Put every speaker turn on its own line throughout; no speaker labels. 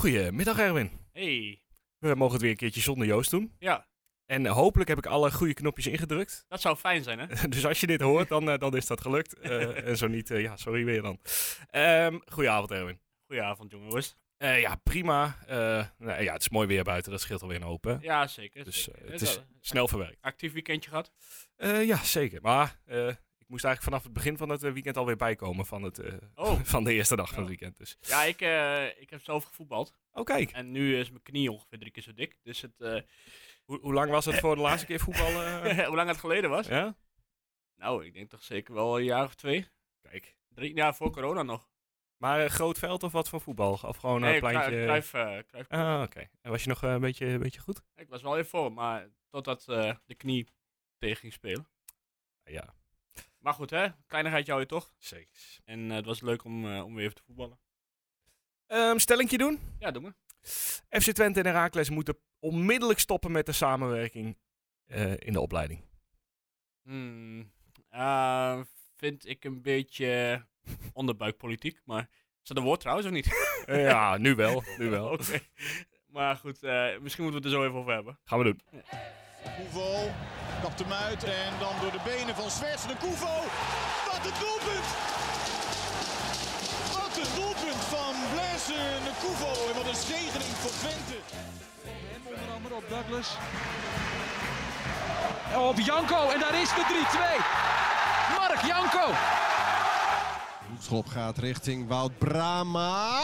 Goedemiddag Erwin.
Hey,
We mogen het weer een keertje zonder Joost doen.
ja,
En eh, hopelijk heb ik alle goede knopjes ingedrukt.
dat zou fijn zijn, hè?
dus als je dit hoort, dan, eh, dan is dat gelukt. Eh, en zo niet, eh, ja, sorry weer dan. Ehm goedenavond Erwin.
Goedenavond, jongens.
Eh, ja, prima. Eh, nou, ja, het is mooi weer buiten, dat scheelt alweer een hoop. hè.
Ja, zeker.
Dus
zeker.
eh, het
Dat
is
wel een
snel verwerkt.
Actief weekendje gehad?
Eh, ja, zeker. Maar eh, ik moest eigenlijk vanaf het begin van het eh, weekend alweer bijkomen van, het, eh,
Oh,
van de eerste dag van het
Ja.
weekend. Dus.
ja, ik, eh, ik heb zelf gevoetbald.
Oh, kijk.
En nu is mijn knie ongeveer drie keer zo dik. Dus het, eh,
Hoe, hoe lang was het voor de laatste keer voetballen?
hoe lang het geleden was?
ja?
Nou, ik denk toch zeker wel een jaar of twee.
Kijk.
Drie, ja, voor corona nog.
Maar eh, groot veld of wat van voetbal? Of gewoon een
nee, Cru-
pleintje?
Cruijff, eh, Cruijff.
Ah, oké. En was je nog eh, een, beetje, een beetje goed?
Ik was wel even voor, maar totdat eh, de knie tegen ging spelen.
Ja,
Maar goed, hè? Kleinigheid jou je toch.
zeker.
En eh, het was leuk om, eh, om weer even te voetballen.
Ehm, stellingje doen.
Ja, doe maar.
FC Twente en Heracles moeten onmiddellijk stoppen met de samenwerking eh, in de opleiding.
Hmm, eh, vind ik een beetje onderbuikpolitiek, maar is dat een woord trouwens of niet?
Eh, ja, nu wel. Nu wel.
Oké. Maar goed, eh, misschien moeten we het er zo even over hebben.
Gaan we doen.
Koevo kapt hem uit en dan door de benen van Zwerts de Koevo. Wat een doelpunt! Wat een doelpunt van Blaise de Koevo en wat een zegening voor Twente.
Hem onder andere op Douglas. Op Janko en daar is de 3-2. Mark Janko.
Schop gaat richting Wout Brama.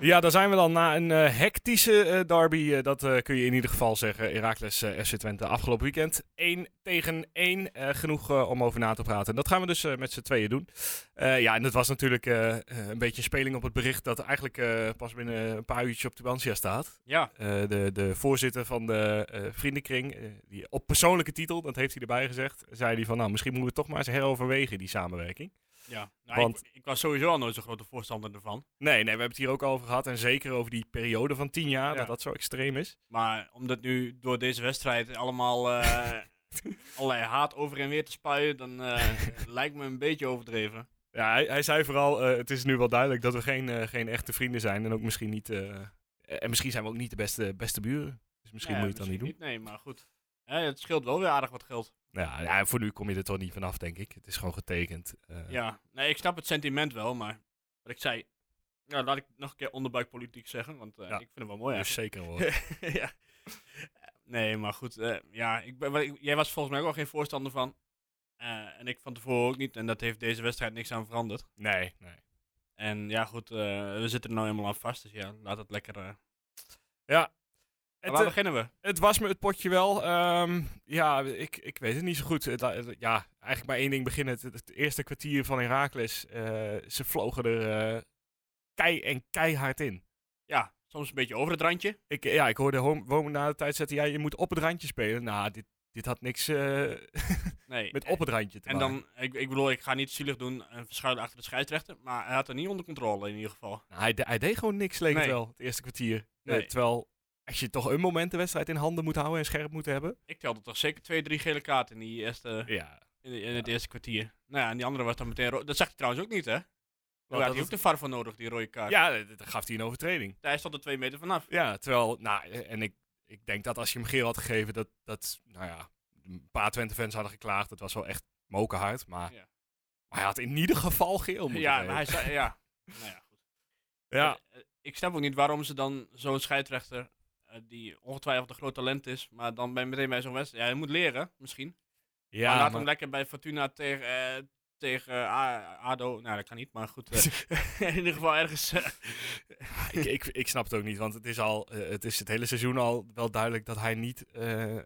Ja, daar zijn we dan na een eh, hectische eh, derby. eh, dat eh, kun je in ieder geval zeggen. Heracles eh, FC Twente afgelopen weekend. 1 tegen 1. genoeg eh, om over na te praten. En dat gaan we dus eh, met z'n tweeën doen. Eh, ja, en dat was natuurlijk eh, eh, een beetje speling op het bericht dat eigenlijk eh, pas binnen een paar uurtjes op Tubantia staat.
Ja,
Eh, de, de voorzitter van de eh, vriendenkring, eh, die op persoonlijke titel, dat heeft hij erbij gezegd, zei hij van nou, misschien moeten we toch maar eens heroverwegen die samenwerking.
ja. Nou,
Want-
ik, was sowieso al nooit zo'n grote voorstander ervan.
Nee, nee, we hebben het hier ook over gehad. En zeker over die periode van tien jaar,
Ja.
dat dat zo extreem is.
Maar omdat nu door deze wedstrijd allemaal eh, allerlei haat over en weer te spuien, dan eh, lijkt me een beetje overdreven.
Ja, hij, hij zei vooral, eh, het is nu wel duidelijk dat we geen, eh, geen echte vrienden zijn. En ook misschien niet, eh, en misschien zijn we ook niet de beste, beste buren. Dus misschien
Nou ja,
moet je het dan niet doen.
Nee, maar goed. Hè, het scheelt wel weer aardig wat geld.
Ja, Nou ja, voor nu kom je er toch niet vanaf, denk ik. Het is gewoon getekend. Eh,
Ja, nee, ik snap het sentiment wel, maar wat ik zei, ja, laat ik nog een keer onderbuikpolitiek zeggen, want eh,
Ja.
ik vind het wel mooi
Dus
eigenlijk.
zeker hoor.
ja. Nee, maar goed, eh, ja, ik ben, wat ik- jij was volgens mij ook al geen voorstander van. Eh, en ik van tevoren ook niet, en dat heeft deze wedstrijd niks aan veranderd.
nee, nee.
En ja, goed, eh, we zitten er nou helemaal aan vast, dus ja, laat het lekker. eh.
Het,
waar
eh,
beginnen we?
het was me het potje wel. Ehm, ja, ik, ik weet het niet zo goed. Het la- het- ja, eigenlijk maar één ding beginnen. Het, het eerste kwartier van Herakles, ze vlogen er eh, kei en keihard in.
Ja, soms een beetje over het randje.
Ik, ja, ik hoorde Hom- Women na de tijd zetten, ja, je moet op het randje spelen. Nou, dit, dit had niks eh,
Nee.
met op het randje te
en
maken.
dan, ik, ik bedoel, ik ga niet zielig doen en verschuilen achter de scheidsrechter, maar hij had er niet onder controle in ieder geval.
Nou, hij, de- hij deed gewoon niks, leek het
Nee.
wel, het eerste kwartier. Eh,
Nee.
terwijl, als je toch een moment de wedstrijd in handen moet houden en scherp moet hebben.
Ik telde toch zeker twee, drie gele kaarten in die eerste,
Ja,
In, de- in het eerste kwartier. Nou ja, en die andere was dan meteen rood. Dat zag hij trouwens ook niet, hè?
Wat,
Daar had
dat
hij
het-
ook de VAR voor nodig, die rode kaart.
ja eh, dan gaf hij een overtreding.
Hij stond er twee meter vanaf.
Ja, terwijl, nou, eh, en ik, ik denk dat als je hem geel had gegeven, dat, dat nou ja, een paar Twente-fans hadden geklaagd. Dat was wel echt mokerhard, maar,
Ja.
maar hij had in ieder geval geel moeten
Ja,
geven.
maar hij zei, ja. Nou ja, goed.
ja.
Eh, eh, Ik snap ook niet waarom ze dan zo'n scheidsrechter, eh, die ongetwijfeld een groot talent is, maar dan bij, meteen bij zo'n wedstrijd. Ja, hij moet leren, misschien.
ja,
maar laat
maar-
hem lekker bij Fortuna tegen, eh, tegen eh, A- ADO. Nou, dat kan niet, maar goed. eh, in ieder geval ergens. eh,
ik, ik, ik snap het ook niet, want het is, al, eh, het is het hele seizoen al wel duidelijk dat hij niet eh,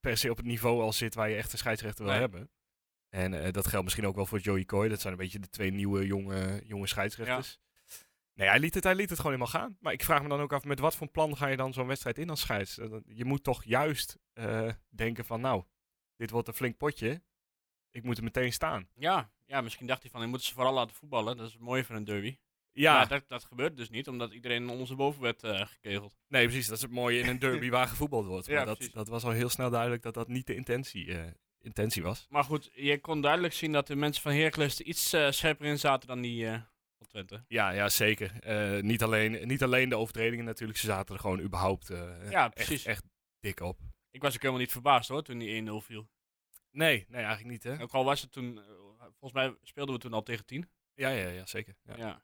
per se op het niveau al zit waar je echt een scheidsrechter wil
Nee.
hebben. En eh, dat geldt misschien ook wel voor Joey Coy. Dat zijn een beetje de twee nieuwe jonge, jonge scheidsrechters. Nee, hij liet, het, hij liet het gewoon helemaal gaan. Maar ik vraag me dan ook af, met wat voor plan ga je dan zo'n wedstrijd in als scheids? Eh, dan- Je moet toch juist eh, denken van, nou, dit wordt een flink potje. Ik moet er meteen staan.
ja, ja, misschien dacht hij van, hij moet ze vooral laten voetballen. Dat is mooi voor een derby.
Ja,
Maar dat, dat gebeurt dus niet, omdat iedereen onder zijn boven werd eh, gekegeld.
nee, precies. Dat is het mooie in een derby waar gevoetbald wordt. Maar
Ja,
dat,
precies.
dat was al heel snel duidelijk dat dat niet de intentie, eh, intentie was.
Maar goed, je kon duidelijk zien dat de mensen van Heracles er iets eh, scherper in zaten dan die eh, van Twente.
Ja, ja zeker. Eh, niet, alleen, niet alleen de overtredingen natuurlijk. Ze zaten er gewoon überhaupt eh,
Ja,
echt-
precies.
Echt, dik op.
Ik was ook helemaal niet verbaasd hoor, toen die 1-0 viel.
Nee, nee, eigenlijk niet, hè?
Ook al was het toen, eh, volgens mij speelden we toen al tegen 10.
Ja, ja, ja zeker. Ja.
Ja.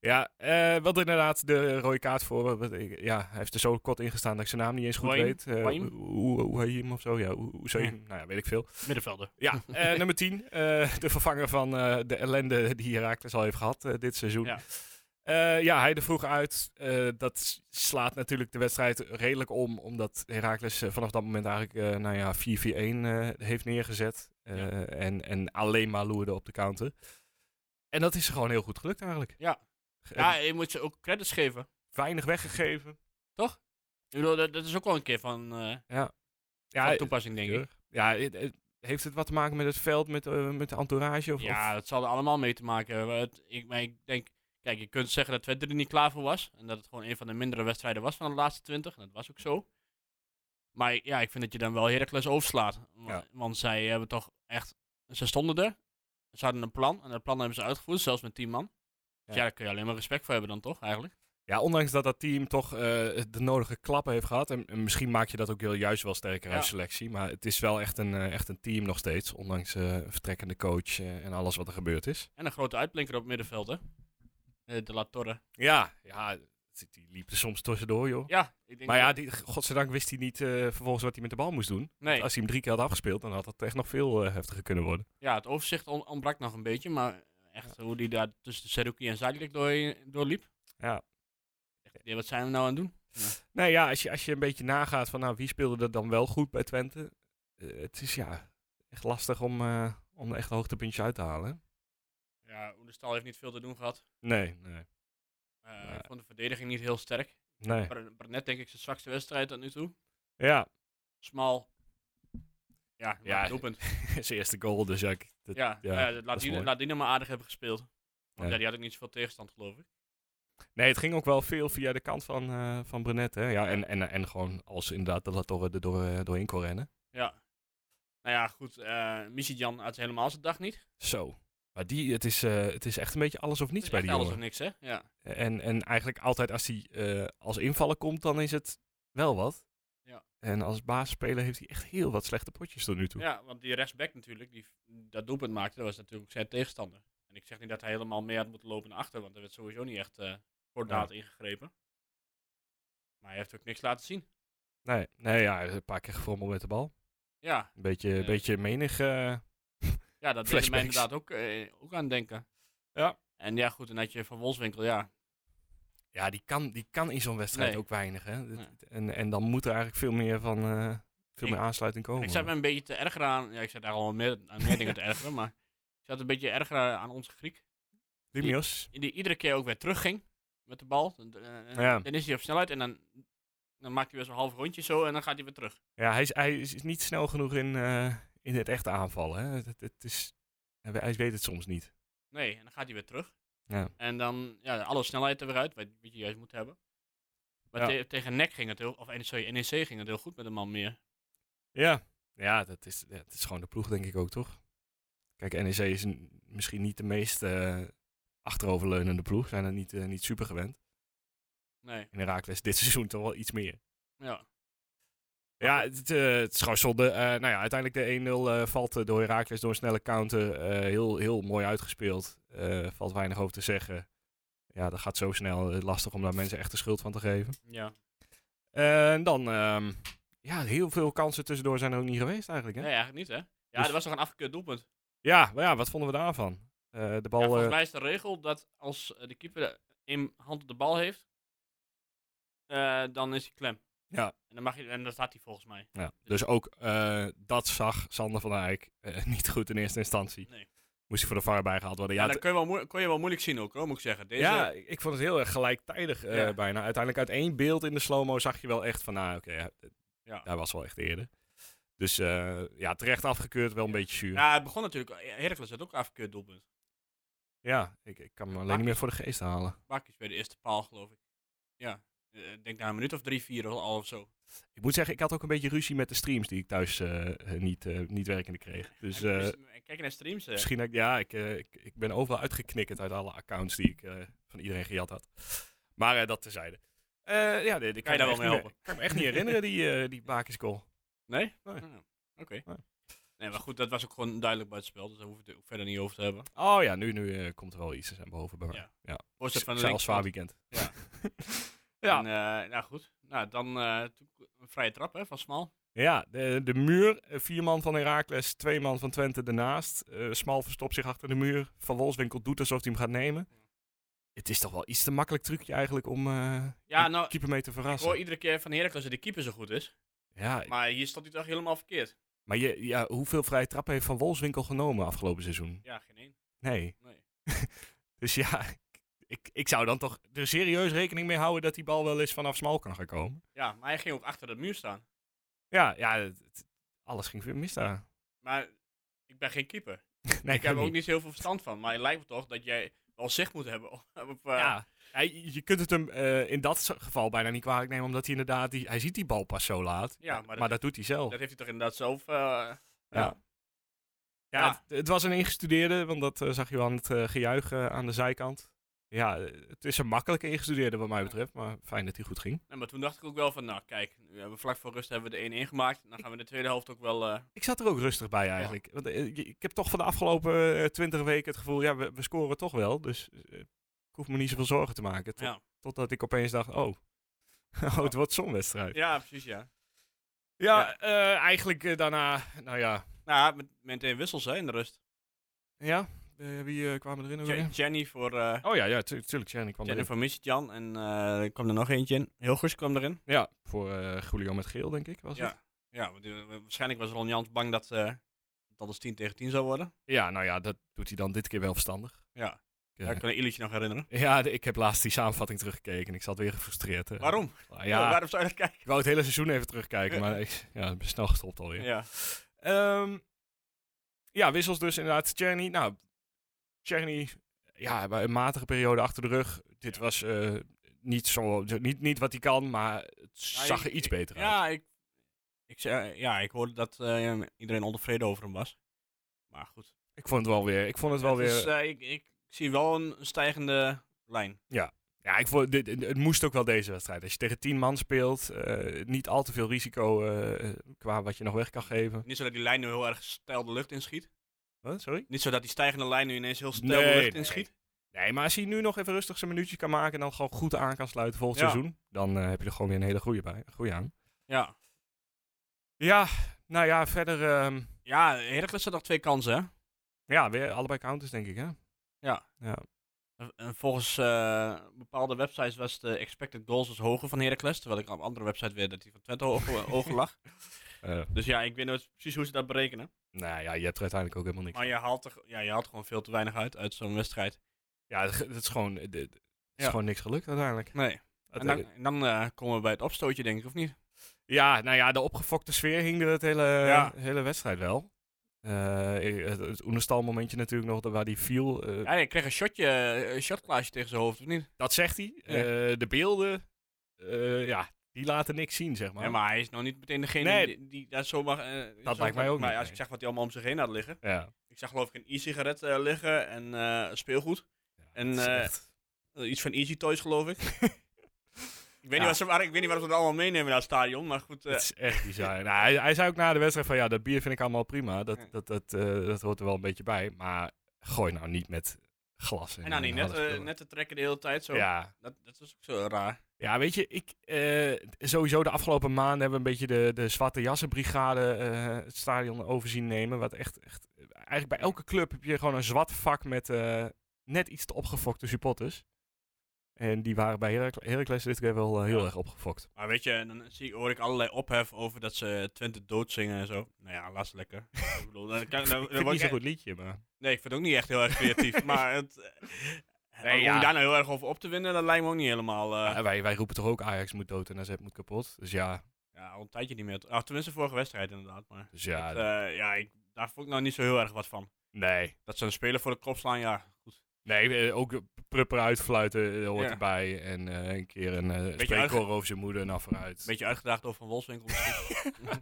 Ja, eh, wat inderdaad de rode kaart voor. eh, wat ik- Ja, hij heeft er zo kort in gestaan dat ik zijn naam niet eens goed
Wayne?
weet. Eh,
Wayne?
Hoe hoe heet je hem of zo? Ja, hoe hoe zou je
Ja.
hem? Nou ja, weet ik veel.
Middenvelder.
Ja, eh, nummer 10. eh, de vervanger van eh, de ellende die Herakles al heeft gehad eh, dit seizoen.
Ja.
Eh, ja, hij er vroeg uit. Eh, dat s- slaat natuurlijk de wedstrijd redelijk om. Omdat Herakles vanaf dat moment eigenlijk eh, nou ja, 4-4-1 eh, heeft neergezet. Eh,
Ja.
en, en alleen maar loerde op de counter. En dat is gewoon heel goed gelukt eigenlijk.
Ja.
Ge-
Ja, je moet ze ook credits geven.
weinig weggegeven.
Ik bedoel, dat, dat is ook wel een keer van, eh,
Ja,
van toepassing, denk ik.
ja het- het- heeft het wat te maken met het veld, met, eh, met de entourage? Of,
Ja,
of-
dat zal er allemaal mee te maken hebben. Het- ik, maar ik denk, kijk, je kunt zeggen dat Twente er niet klaar voor was. En dat het gewoon een van de mindere wedstrijden was van de laatste twintig. En dat was ook zo. Maar ja, ik vind dat je dan wel Heracles overslaat. Wa-
Ja.
Want zij hebben toch echt... Ze stonden er. Ze hadden een plan. En dat plan hebben ze uitgevoerd, zelfs met tien man.
Ja.
Dus ja, daar kun je alleen maar respect voor hebben dan toch, eigenlijk.
ja, ondanks dat dat team toch eh, de nodige klappen heeft gehad. En, en misschien maak je dat ook heel juist wel sterker
Ja.
uit selectie. Maar het is wel echt een, eh, echt een team nog steeds. Ondanks eh, een vertrekkende coach eh, en alles wat er gebeurd is.
En een grote uitblinker op het middenveld, hè. Eh, de La Torre.
Ja, ja het- die liep er soms tussendoor, joh.
Ja, ik denk
Maar ja,
dat-
die, godzijdank wist hij niet eh, vervolgens wat hij met de bal moest doen.
nee.
Als hij hem drie keer had afgespeeld, dan had dat echt nog veel eh, heftiger kunnen worden.
Ja, het overzicht on- ontbrak nog een beetje, maar echt hoe die daar tussen Seruki en Zuidelijk door, doorliep.
Ja.
Echt, ja, wat zijn we nou aan het doen?
Nou ja, als je, als je een beetje nagaat van nou, wie speelde er dan wel goed bij Twente. eh, het is ja echt lastig om, eh, om er echt hoogtepuntjes uit te halen. hè?
Ja, Oenestal heeft niet veel te doen gehad.
Nee, nee.
Eh,
Ja.
Ik vond de verdediging niet heel sterk.
nee.
Bar- Barnet denk ik zijn zwakste wedstrijd tot nu toe.
Ja,
Smal. Ja,
Ja,
ja doelpunt.
zijn eerste goal dus ja. ik- dat-
ja,
ja,
ja, laat,
is
die,
mooi.
laat die nou maar aardig hebben gespeeld.
Ja.
Want ja, die had ook niet zoveel tegenstand, geloof ik.
Nee, het ging ook wel veel via de kant van, eh van Brenet. Hè? Ja, en, en, en gewoon als inderdaad de Latorre er door, eh, doorheen kon rennen.
Ja. Nou ja, goed. eh Misijan had helemaal zijn dag niet.
Zo. Maar die, het is, eh, het is echt een beetje alles of niets
Echt
bij die
alles
jongen.
of niks, hè? Ja.
En, en eigenlijk altijd als hij eh, als invaller komt, dan is het wel wat.
Ja.
En als basisspeler heeft hij echt heel wat slechte potjes tot nu toe.
Ja, want die rechtsback natuurlijk, die dat doelpunt maakte, dat was natuurlijk zijn tegenstander. En ik zeg niet dat hij helemaal mee had moeten lopen naar achter, want er werd sowieso niet echt eh kordaat ingegrepen. Maar hij heeft ook niks laten zien.
Nee, nee ja, een paar keer gefrommeld met de bal.
Ja,
Een beetje, een
Ja.
beetje menig. eh,
ja dat deed mij
Flashbacks.
inderdaad ook, eh, ook aan denken.
Ja.
En ja, goed, en dat je van Wolfswinkel, ja.
ja, die kan, die kan in zo'n wedstrijd
Nee.
ook weinig. Hè? Dat-
Nee.
En, en dan moet er eigenlijk veel meer van eh, veel
Ik-
meer aansluiting komen.
Ik zat me een beetje te erger aan, ja, ik zat daar al meer, aan meer dingen te ergeren, maar ik zat een beetje erger aan onze Griek.
Limios.
Die iedere keer ook weer terugging met de bal. En- en- en
Ja.
Dan is hij op snelheid en dan, dan maakt hij weer zo'n half rondje zo en dan gaat hij weer terug.
Ja, hij is, hij is niet snel genoeg in, eh, in het echte aanvallen. Hè? Het, het is, hij weet het soms niet.
Nee, en dan gaat hij weer terug.
Ja.
En dan, ja, alle snelheid er weer uit, wat, wat je juist moet hebben. Maar
Ja.
te- tegen NEC ging het heel, of eh, sorry, NEC ging het heel goed met een man meer.
Ja, ja dat is, ja, het is gewoon de ploeg, denk ik ook, toch? Kijk, NEC is een- misschien niet de meest eh, achteroverleunende ploeg. Zijn er niet, eh, niet super gewend.
Nee,
In Herakles dit seizoen toch wel iets meer.
ja.
Ja, het, eh, het is gewoon zonde. Eh, nou ja, uiteindelijk de 1-0 eh, valt eh, door Herakles door een snelle counter. Eh, heel, heel mooi uitgespeeld. Eh, valt weinig over te zeggen. Ja, dat gaat zo snel. eh, lastig om daar mensen echt de schuld van te geven.
ja.
Eh, en dan, ehm, ja, heel veel kansen tussendoor zijn er ook niet geweest eigenlijk. Hè?
Nee, eigenlijk niet, hè? Ja,
Dus-
dat was toch een afgekeurd doelpunt.
Ja, maar ja, wat vonden we daarvan? Eh, de
Ja,
bal. eh,
volgens mij is de regel dat als eh, de keeper in hand op de bal heeft, eh, dan is hij klem.
Ja.
En, dan mag je, en dat had hij volgens mij.
Ja, dus ook eh, dat zag Sander van Eyck eh, niet goed in eerste instantie.
Nee.
Moest hij voor de VAR bijgehaald worden.
Ja,
Ja,
dat
het-
kun je wel moe- kon je wel moeilijk zien ook, hoor, moet ik zeggen. Deze,
ja, ik vond het heel erg gelijktijdig eh,
Ja.
bijna. Uiteindelijk uit één beeld in de slow-mo zag je wel echt van, nou oké, ja, d-
Ja.
hij was wel echt eerder. Dus eh, ja, terecht afgekeurd, wel een beetje zuur.
ja, het begon natuurlijk, Heracles had ook een afgekeurd doelpunt.
Ja, ik, ik kan hem alleen niet meer voor de geest halen.
Bakjes bij de eerste paal, geloof ik. Ja, Eh, ik denk na een minuut of drie, vier al al of zo.
Ik moet zeggen, ik had ook een beetje ruzie met de streams die ik thuis eh, eh, niet, eh, niet werkende kreeg. Dus eh,
Kijk naar streams. eh.
misschien dat ik, ja, ik, eh, ik, ik ben overal uitgeknikkerd uit alle accounts die ik eh, van iedereen gejat had. Maar eh, dat terzijde. Eh ja, nee, die
Kan je daar wel
me echt niet
mee helpen?
meer- Ik kan me echt niet herinneren, die, eh, die Bakis goal.
Nee?
Nee.
Ah, Oké.
Nee.
Nee, maar goed, dat was ook gewoon duidelijk bij het spel. Dus daar hoef ik het ook verder niet over te hebben.
Oh ja, nu, nu eh, komt er wel iets aan boven bij mij.
Ja.
Ja.
Voorzet van de
Zelfs zwaar
linkerkant.
weekend.
Ja.
ja.
En, eh, nou goed, nou, dan eh, toen- een vrije trap hè, van Smal.
Ja, de, de muur. eh, Vier man van Herakles, twee man van Twente daarnaast. Eh, Smal verstopt zich achter de muur. Van Wolfswinkel doet alsof hij hem gaat nemen. Het is toch wel iets te makkelijk trucje eigenlijk om eh
Ja,
een
nou,
keeper mee te
Ik hoor
verrassen.
iedere keer van Heracles dat de keeper zo goed is.
Ja,
Maar hier stond hij toch helemaal verkeerd.
maar je, ja, hoeveel vrije trappen heeft Van Wolfswinkel genomen afgelopen seizoen?
Ja, geen één.
Nee.
Nee.
Dus ja, ik, ik zou dan toch er serieus rekening mee houden dat die bal wel eens vanaf Smal kan gaan komen.
Ja, maar hij ging ook achter de muur staan.
Ja, ja het- het- alles ging weer mis daar.
Maar ik ben geen keeper.
Nee,
ik heb er ook niet zo heel veel verstand van. Maar het lijkt me toch dat jij wel zicht moet hebben op... op, eh,
Ja. Ja, je je kunt het hem eh, in dat zo- geval bijna niet kwalijk nemen, omdat hij inderdaad, die, hij ziet die bal pas zo laat.
Ja, maar
maar,
dat-
dat, doet hij zelf.
Dat heeft hij toch inderdaad zelf... eh,
ja. Ja,
Ja.
Het, het was een ingestudeerde, want dat eh, zag je wel aan het eh, gejuich eh, aan de zijkant. Ja, eh, het is een makkelijke ingestudeerde wat mij betreft, maar fijn dat hij goed ging.
nee, maar toen dacht ik ook wel van, nou kijk, nu hebben we vlak voor rust hebben we de 1-1 gemaakt. Dan gaan we in de tweede helft ook wel... eh,
Ik zat er ook rustig bij eigenlijk. Want, eh, je- ik heb toch van de afgelopen eh, twintig weken het gevoel, ja, we, we scoren toch wel. Dus eh, ik hoef me niet zoveel zorgen te maken. Tot-
Ja.
Totdat ik opeens dacht, oh, oh het wordt zo'n wedstrijd.
ja, precies ja.
Ja, eh, eigenlijk eh, daarna, nou ja.
Nou, met, meteen wissels hè, in de rust.
Ja, eh, wie eh, kwamen erin? ook
Je-
alweer?
Jenny voor... eh,
Oh ja, ja tu- tuurlijk, Jenny kwam
Jenny
erin.
voor Michijan en eh, er kwam er nog eentje in. Hilgers kwam erin.
Ja, voor eh Julio met geel, denk ik, was het.
Ja, ja want, eh, waarschijnlijk was Ron Jans bang dat, eh dat het 10 tegen 10 zou worden.
Ja, nou ja, dat doet hij dan dit keer wel verstandig.
Ja,
Ja,
ja ik kan me Illich nog herinneren.
Ja, de- ik heb laatst die samenvatting teruggekeken en ik zat weer gefrustreerd. hè.
Waarom?
Ah, ja,
Waarom zou je dat kijken?
ik wou het hele seizoen even terugkijken, maar ik ja, ik ben snel gestopt alweer.
Ja.
Ehm, ja, wissels dus inderdaad. Czerny, nou, Czerny, ja, bij een matige periode achter de rug. Dit was eh, niet, zo, niet, niet wat hij kan, maar het zag er
ik-
iets
ik-
beter uit.
ja, Ik, ik, zei- ja, ik hoorde dat eh, iedereen ontevreden over hem was. Maar goed.
Ik vond het wel weer, ik vond het wel weer,
Dus eh, ik, ik zie wel een een stijgende lijn.
ja, ik vond, dit, het moest ook wel deze wedstrijd. Als je tegen tien man speelt, eh, niet al te veel risico eh, qua wat je nog weg kan geven.
Niet zo dat die lijn nu heel erg stijl de lucht inschiet.
Wat? Sorry?
Niet zo dat die stijgende lijn nu ineens heel stijl
Nee,
de lucht
nee.
inschiet.
Nee, maar als hij nu nog even rustig zijn minuutje kan maken en dan gewoon goed aan kan sluiten volgend
Ja.
seizoen, dan eh, heb je er gewoon weer een hele goede bij, goede aan.
Ja.
Ja, nou ja, verder. ehm,
Ja, Heracles had nog twee kansen, hè?
Ja, weer allebei counters, denk ik, hè?
Ja.
Ja.
En- en volgens eh, bepaalde websites was de expected goals dus hoger van Heracles. Terwijl ik op een andere website weer dat die van Twente hoger, hoger lag.
Eh,
Dus ja, ik weet nooit precies hoe ze dat berekenen.
nou ja, je hebt er uiteindelijk ook helemaal niks.
Maar je haalt, er, ja, je haalt gewoon veel te weinig uit uit zo'n wedstrijd.
Ja, het, ge- het is, gewoon, het, het is
Ja.
gewoon niks gelukt uiteindelijk.
Nee. En dan, en dan eh, komen we bij het opstootje, denk ik, of niet?
Ja, nou ja, de opgefokte sfeer hing er het hele,
Ja.
hele wedstrijd wel. Eh, het het Oenestal momentje natuurlijk nog, dat- waar die viel. eh,
Ja, hij kreeg een shotje, eh, een shotklaasje tegen zijn hoofd, of niet?
Dat zegt hij. Eh, de beelden, eh, ja, die laten niks zien, zeg maar.
Ja, maar hij is nou niet meteen degene
Nee.
die, die daar zomaar... eh,
lijkt
zomaar-
mij ook
Maar
niet,
als ik
nee.
zag wat hij allemaal om zich heen had liggen.
Ja.
Ik zag geloof ik een e-sigaret eh, liggen en eh, speelgoed. En,
het is
eh,
echt-
Eh, Iets van Easy Toys, geloof ik. ik, weet
Ja.
niet wat ze, waar- ik weet niet wat ze dat allemaal meenemen naar het stadion, maar goed. eh,
het is echt bizar. nou, hij, hij zei ook na de wedstrijd van, ja, dat bier vind ik allemaal prima. Dat,
Ja.
dat, dat, eh, dat hoort er wel een beetje bij. Maar gooi nou niet met glas. in
en dan
een
die net,
harde
eh,
spullen.
net te trekken de hele tijd zo.
Ja.
Dat, dat is ook zo raar.
ja, weet je, ik, eh, sowieso de afgelopen maanden hebben we een beetje de, de Zwarte Jassenbrigade eh, het stadion overzien nemen. Wat echt, echt, eigenlijk bij elke club heb je gewoon een zwart vak met eh, net iets te opgefokte supporters. En die waren bij Heracles, Heracles dit keer wel eh, heel
Ja.
erg opgefokt.
Maar weet je, dan zie, hoor ik allerlei ophef over dat ze Twente doodzingen en zo. Nou ja, laat ze lekker. ik bedoel, dan kan, dan, dan
ik vind
word
niet
ik
zo'n goed liedje, maar...
e- Nee, ik vind het ook niet echt heel erg creatief, maar het... eh,
Nee,
om
ja.
daar nou heel erg over op te winnen, dat lijkt me ook niet helemaal... eh,
Ja, wij, wij roepen toch ook Ajax moet dood en AZ moet kapot. Dus ja,
ja, al een tijdje niet meer. Ah, tenminste, vorige wedstrijd inderdaad. Maar
dus ja
dat, eh, ja ik, daar vond ik nou niet zo heel erg wat van.
nee.
Dat ze een speler voor de kop slaan, ja, goed.
Nee, eh, ook prupper uitfluiten eh, hoort
Ja.
erbij. En eh, een keer een eh spreekkoor over zijn moeder en af vooruit.
Beetje uitgedaagd over een wolfswinkel. misschien.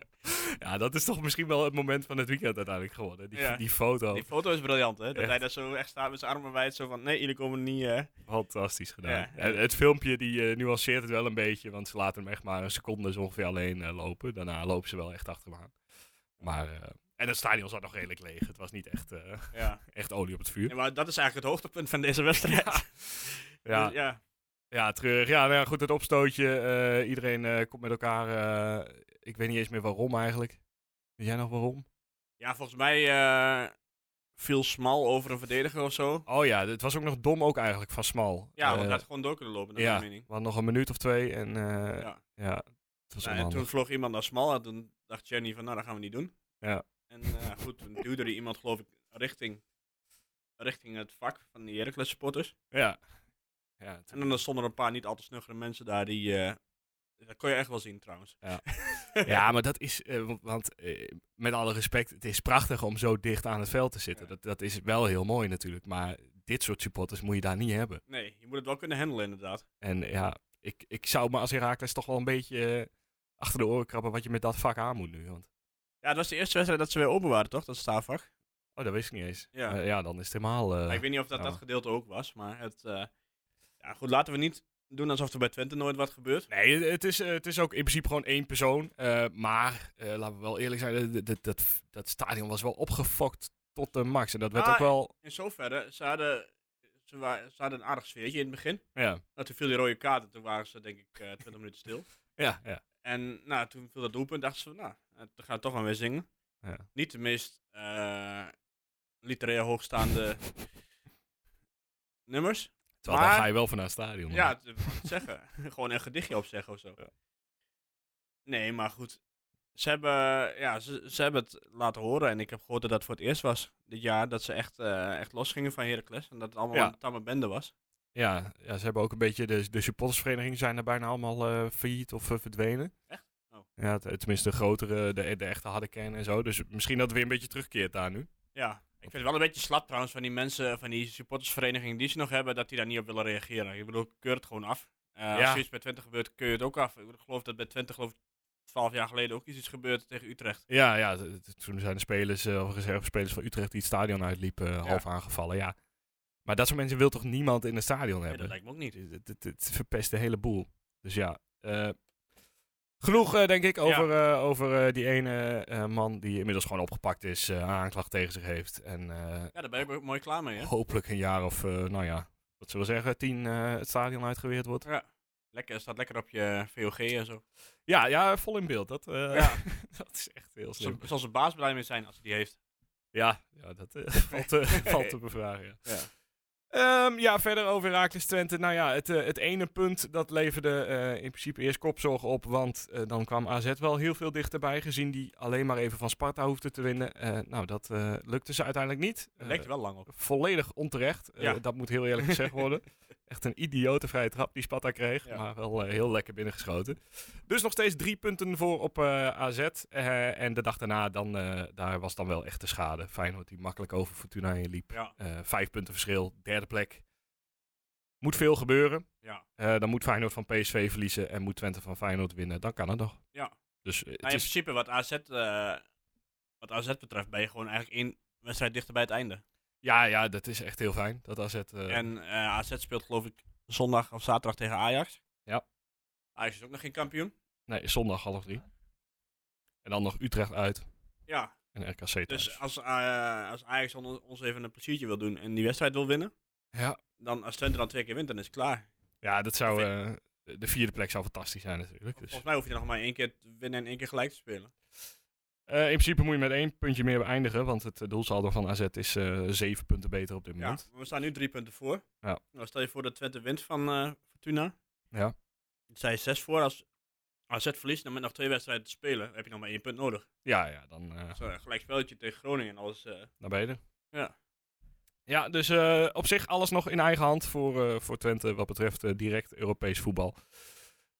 Ja, dat is toch misschien wel het moment van het weekend uiteindelijk geworden. Die,
Ja.
die foto.
Die foto is briljant, hè? Dat
Echt.
hij daar zo echt staat met zijn armen wijd. Zo van, nee, jullie komen niet... eh.
Fantastisch gedaan.
Ja.
En het filmpje die eh, nuanceert het wel een beetje, want ze laten hem echt maar een seconde zo ongeveer alleen eh, lopen. Daarna lopen ze wel echt achter hem aan. Maar, eh, en het stadion zat nog redelijk leeg. Het was niet echt, eh,
Ja.
echt olie op het vuur.
Ja, maar dat is eigenlijk het hoogtepunt van deze wedstrijd.
Ja,
Dus ja.
ja treurig. Ja, nou ja, goed, het opstootje. eh, iedereen eh, komt met elkaar. eh, ik weet niet eens meer waarom eigenlijk. Weet jij nog waarom?
Ja, volgens mij eh, viel Smal over een verdediger of zo.
Oh ja, het was ook nog dom ook eigenlijk van Smal.
Ja, want
Eh,
hij had gewoon door kunnen lopen, naar
ja,
mijn mening.
we hadden nog een minuut of twee en eh, ja.
Ja.
het was
Nou, en
onhandig.
toen vloog iemand naar Smal en toen dacht Jenny van, nou, dat gaan we niet doen.
Ja.
En eh, goed, toen duwde er iemand, geloof ik, richting, richting het vak van die Heracles supporters.
Ja. Ja,
En dan stonden er een paar niet al te snuggere mensen daar die... eh, dat kon je echt wel zien, trouwens.
Ja, maar dat is, eh, wa- want eh, met alle respect, het is prachtig om zo dicht aan het veld te zitten.
Ja.
Dat, dat is wel heel mooi natuurlijk, maar dit soort supporters moet je daar niet hebben.
Nee, je moet het wel kunnen handelen, inderdaad.
En ja, ik, ik zou me als Herakles toch wel een beetje eh, achter de oren krabben wat je met dat vak aan moet nu. Want,
Ja, dat was de eerste wedstrijd dat ze weer open waren, toch? Dat staafvak.
oh, dat wist ik niet eens.
Ja.
Eh, ja dan is het helemaal... eh,
Maar ik weet niet of dat
ja.
dat gedeelte ook was, maar het... eh, ja, goed, laten we niet doen alsof er bij Twente nooit wat gebeurt.
Nee, het- het is, eh, het is ook in principe gewoon één persoon. Eh, maar eh, laten we wel eerlijk zijn, dat, dat, dat, dat stadion was wel opgefokt tot de max. En dat werd
Ah,
ook wel...
In zoverre, ze hadden, ze, wa- ze hadden een aardig sfeertje in het begin.
Ja,
Nou, toen viel die rode kaart en toen waren ze denk ik eh 20 minuten stil.
ja, ja.
En nou, toen viel dat doelpunt dachten ze van, nou, eh, dan gaan we toch maar weer zingen.
Ja.
Niet de meest eh literair hoogstaande nummers.
Terwijl daar
Maar-
ga je wel van naar het stadion.
Ja, te zeggen. Gewoon een gedichtje opzeggen of zo. Nee, maar goed. Ze hebben, ja, ze, ze hebben het laten horen en ik heb gehoord dat dat voor het eerst was dit jaar dat ze echt, eh echt losgingen van Heracles en dat het allemaal
Ja.
een tamme bende was.
Ja, ja, ze hebben ook een beetje de, de supportersverenigingen zijn er bijna allemaal eh, failliet of eh, verdwenen.
Echt? Oh.
Ja, t- tenminste de grotere, de, de echte harde kern en zo. Dus misschien dat het weer een beetje terugkeert daar nu.
Ja, ik vind het wel een beetje slap trouwens van die mensen, van die supportersverenigingen die ze nog hebben, dat die daar niet op willen reageren. Ik bedoel, keur het gewoon af. Eh,
Ja.
Als zoiets bij Twente gebeurt, keur je het ook af. Ik bedoel, ik geloof dat bij Twente geloof ik, 12 jaar geleden ook iets is gebeurd tegen Utrecht.
Ja, ja t- t- toen zijn de spelers, eh, of reservespelers van Utrecht die het stadion uitliepen, eh, half aangevallen. Ja. Maar dat soort mensen wil toch niemand in het stadion
Nee, dat
hebben?
lijkt me ook niet.
Het- Het het verpest de hele boel. Dus ja, eh, genoeg eh, denk ik over, eh, over eh, die ene eh, man die inmiddels gewoon opgepakt is, eh, een aanklacht tegen zich heeft. En eh,
Ja, daar ben ik ook mooi klaar mee, hè?
hopelijk een jaar of, eh, nou ja, wat zullen we zeggen, tien eh, het stadion uitgeweerd wordt.
Ja. Lekker, staat lekker op je VOG en zo.
Ja, ja, vol in beeld. Dat, eh,
Ja.
dat is echt heel
Zal,
slim.
zal zijn baas blij mee zijn als hij die heeft.
Ja, ja dat eh, valt, te, valt te bevragen. Ja.
Ja.
Ehm, ja, verder over Heracles Twente. Nou ja, het, eh, het ene punt dat leverde eh, in principe eerst kopzorg op. Want eh, dan kwam AZ wel heel veel dichterbij. Gezien die alleen maar even van Sparta hoefde te winnen. Eh, nou, dat eh, lukte ze uiteindelijk niet. Eh,
Het lijkt er wel lang op.
volledig onterecht. Eh,
Ja.
dat moet heel eerlijk gezegd worden. Echt een idiote vrije trap die Sparta kreeg.
Ja.
Maar wel eh, heel lekker binnengeschoten. Dus nog steeds drie punten voor op eh, AZ. Eh, en de dag daarna, dan, eh, daar was dan wel echt de schade. Feyenoord die makkelijk over Fortuna heen liep.
Ja.
Eh, vijf punten verschil, derde plek. Moet veel gebeuren.
Ja.
Eh, dan moet Feyenoord van PSV verliezen en moet Twente van Feyenoord winnen. Dan kan het nog.
Ja.
Dus eh,
Maar
het
in
is,
principe, wat AZ, eh, wat AZ betreft, ben je gewoon eigenlijk één wedstrijd dichter bij het einde.
ja, ja, dat is echt heel fijn. Dat AZ... eh,
En eh, AZ speelt geloof ik zondag of zaterdag tegen Ajax.
Ja.
Ajax is ook nog geen kampioen.
Nee, zondag half drie. En dan nog Utrecht uit
Ja,
en RKC thuis.
dus als, eh, als Ajax on- ons even een pleziertje wil doen en die wedstrijd wil winnen,
ja.
dan als Twente dan twee keer wint, dan is het klaar.
ja, dat zou...
Ik
eh, de vierde plek zou fantastisch zijn natuurlijk. Dus,
Volgens mij hoef je nog maar één keer te winnen en één keer gelijk te spelen.
Eh, in principe moet je met één puntje meer beëindigen, want het eh, doelsaldo van AZ is eh, zeven punten beter op dit
Ja,
moment.
maar we staan nu drie punten voor.
Ja.
Nou, stel je voor dat Twente wint van eh, Fortuna.
Ja.
Zij is zes voor. Als AZ verliest, dan met nog twee wedstrijden te spelen, heb je nog maar één punt nodig.
Ja, ja, dan eh
Dus, eh, gelijk spelletje tegen Groningen en alles. eh,
naar beneden.
Ja.
Ja, dus eh, op zich alles nog in eigen hand voor, eh, voor Twente wat betreft eh, direct Europees voetbal.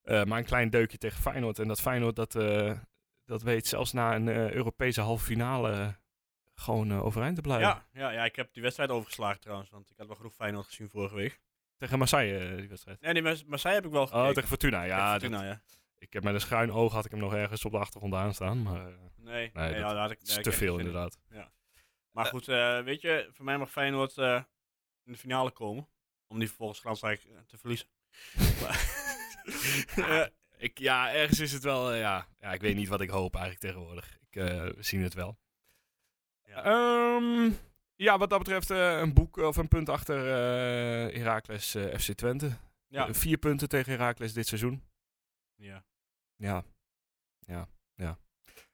Eh, maar een klein deukje tegen Feyenoord. En dat Feyenoord, dat, eh, dat weet zelfs na een eh, Europese halve finale eh, gewoon eh, overeind te blijven.
Ja, ja, ja, ik heb die wedstrijd overgeslagen trouwens, want ik had wel genoeg Feyenoord gezien vorige week.
Tegen Marseille, eh, die wedstrijd.
Nee, nee, maar Marseille heb ik wel gekeken.
Oh, tegen Fortuna. Ja,
Tegen Fortuna,
dat-
ja.
ik heb met een schuin oog had ik hem nog ergens op de achtergrond aanstaan. Maar eh,
Nee,
Nee,
nee,
dat
ja, daar had ik,
het is te
daar heb ik geen zin
veel
in.
inderdaad.
Maar goed, eh, weet je, voor mij mag Feyenoord eh, in de finale komen. Om die vervolgens glansrijk eh, te verliezen. Maar- Eh,
Ik, ja, ergens is het wel, eh, ja. ja. Ik weet niet wat ik hoop eigenlijk tegenwoordig. Ik, eh, we zien het wel.
ja.
Ehm, ja, wat dat betreft eh, een boek of een punt achter eh Heracles eh, FC Twente.
ja.
Eh, vier punten tegen Heracles dit seizoen.
ja.
Ja. Ja. Ja.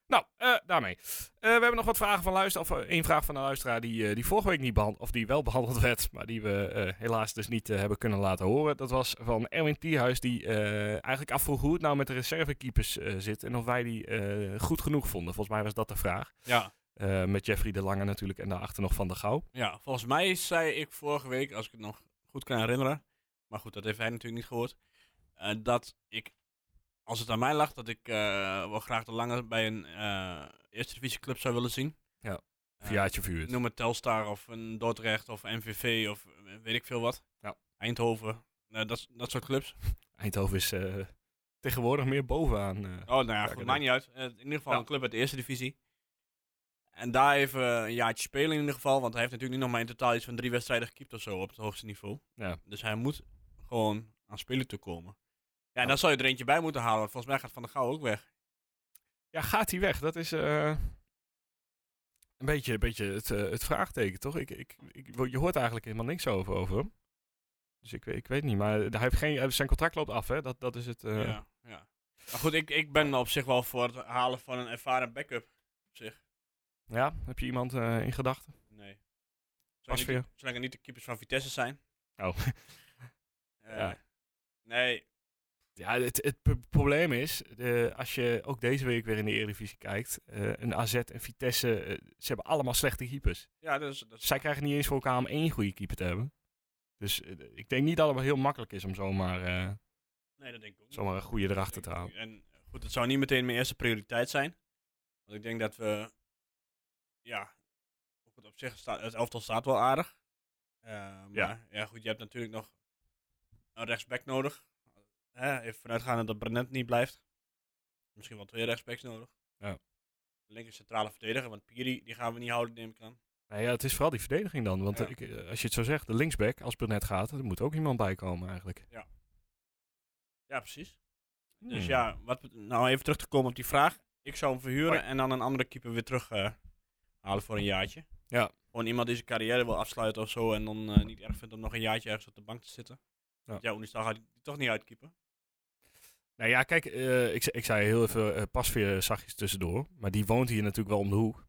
Nou, eh, daarmee. Eh, we hebben nog wat vragen van luisteraar. Of eh, één vraag van een luisteraar die, eh, die vorige week niet behandeld. Of die wel behandeld werd. Maar die we eh, helaas dus niet eh, hebben kunnen laten horen. Dat was van Erwin Thierhuis. Die eh, eigenlijk afvroeg hoe het nou met de reservekeepers eh, zit. En of wij die eh, goed genoeg vonden. Volgens mij was dat de vraag.
Ja.
Eh, met Jeffrey de Lange natuurlijk. En daarachter nog Van de Gouw.
ja, volgens mij zei ik vorige week, als ik het nog goed kan herinneren. Maar goed, dat heeft hij natuurlijk niet gehoord. eh, dat ik, als het aan mij lag, dat ik eh, wel graag de lange bij een eh, eerste divisie club zou willen zien.
Ja.
Eh,
Verjaartje vuurt.
Noem het Telstar of een Dordrecht of MVV of eh, weet ik veel wat.
Ja.
Eindhoven. Nou, dat, dat soort clubs.
Eindhoven is eh, tegenwoordig meer bovenaan. eh.
Oh, nou ja,
ik
goed,
weet
maakt niet uit. Eh, in ieder geval
Ja.
een club uit de eerste divisie. En daar even eh, een jaartje spelen in ieder geval. Want hij heeft natuurlijk nu nog maar in totaal iets van drie wedstrijden gekiept of zo op het hoogste niveau.
Ja.
Dus hij moet gewoon aan spelen toe komen. Ja, en dan zou je er eentje bij moeten halen. Want volgens mij gaat Van der Gouw ook weg.
Ja, gaat hij weg? Dat is eh, een beetje, een beetje het, eh, het vraagteken, toch? Ik, ik, ik, je hoort eigenlijk helemaal niks over, over hem. Dus ik, ik weet niet, maar hij heeft geen, eh, zijn contract loopt af, hè? Dat, dat is het. eh,
Ja, ja. Maar goed, ik, ik ben op zich wel voor het halen van een ervaren backup.
ja, heb je iemand eh, in gedachten?
Nee. Zolang het
Pasveer?
niet- Zolang het niet de keepers van Vitesse zijn.
Oh.
Eh,
Ja.
Nee,
Ja, het, het pro- probleem is, eh, als je ook deze week weer in de Eredivisie kijkt, eh, een AZ en Vitesse, eh, ze hebben allemaal slechte keepers.
ja, dat is, dat is-
Zij krijgen niet eens voor elkaar om één goede keeper te hebben. Dus eh, ik denk niet dat het wel heel makkelijk is om zomaar, eh,
nee, dat denk ik ook niet.
zomaar een goede erachter te halen.
En goed, het zou niet meteen mijn eerste prioriteit zijn. Want ik denk dat we, ja, ook het op zich staat, het elftal staat wel aardig. Eh, maar, ja, goed, je hebt natuurlijk nog een rechtsback nodig. Hè, even vanuitgaande dat Brenet niet blijft. Misschien wel twee rechtsbacks nodig.
Ja.
Linker centrale verdediger, want Piri, die gaan we niet houden, neem ik aan.
Nou ja, het is vooral die verdediging dan. Want
Ja.
ik, eh, als je het zo zegt, de linksback, als Brunet gaat, er moet ook iemand bij komen eigenlijk.
Ja, precies. Dus
Hmm.
ja, wat, bet- nou even terug te komen op die vraag. Ik zou hem verhuren en dan een andere keeper weer terug eh, halen voor een jaartje.
Ja.
Gewoon iemand die zijn carrière wil afsluiten of zo. En dan eh, niet erg vindt om nog een jaartje ergens op de bank te zitten.
Ja.
Want Ja, Oenistal gaat die toch niet uitkeepen.
Nou ja, kijk, eh, ik, ze- ik zei heel even eh Pasveer zachtjes tussendoor. Maar die woont hier natuurlijk wel om de hoek.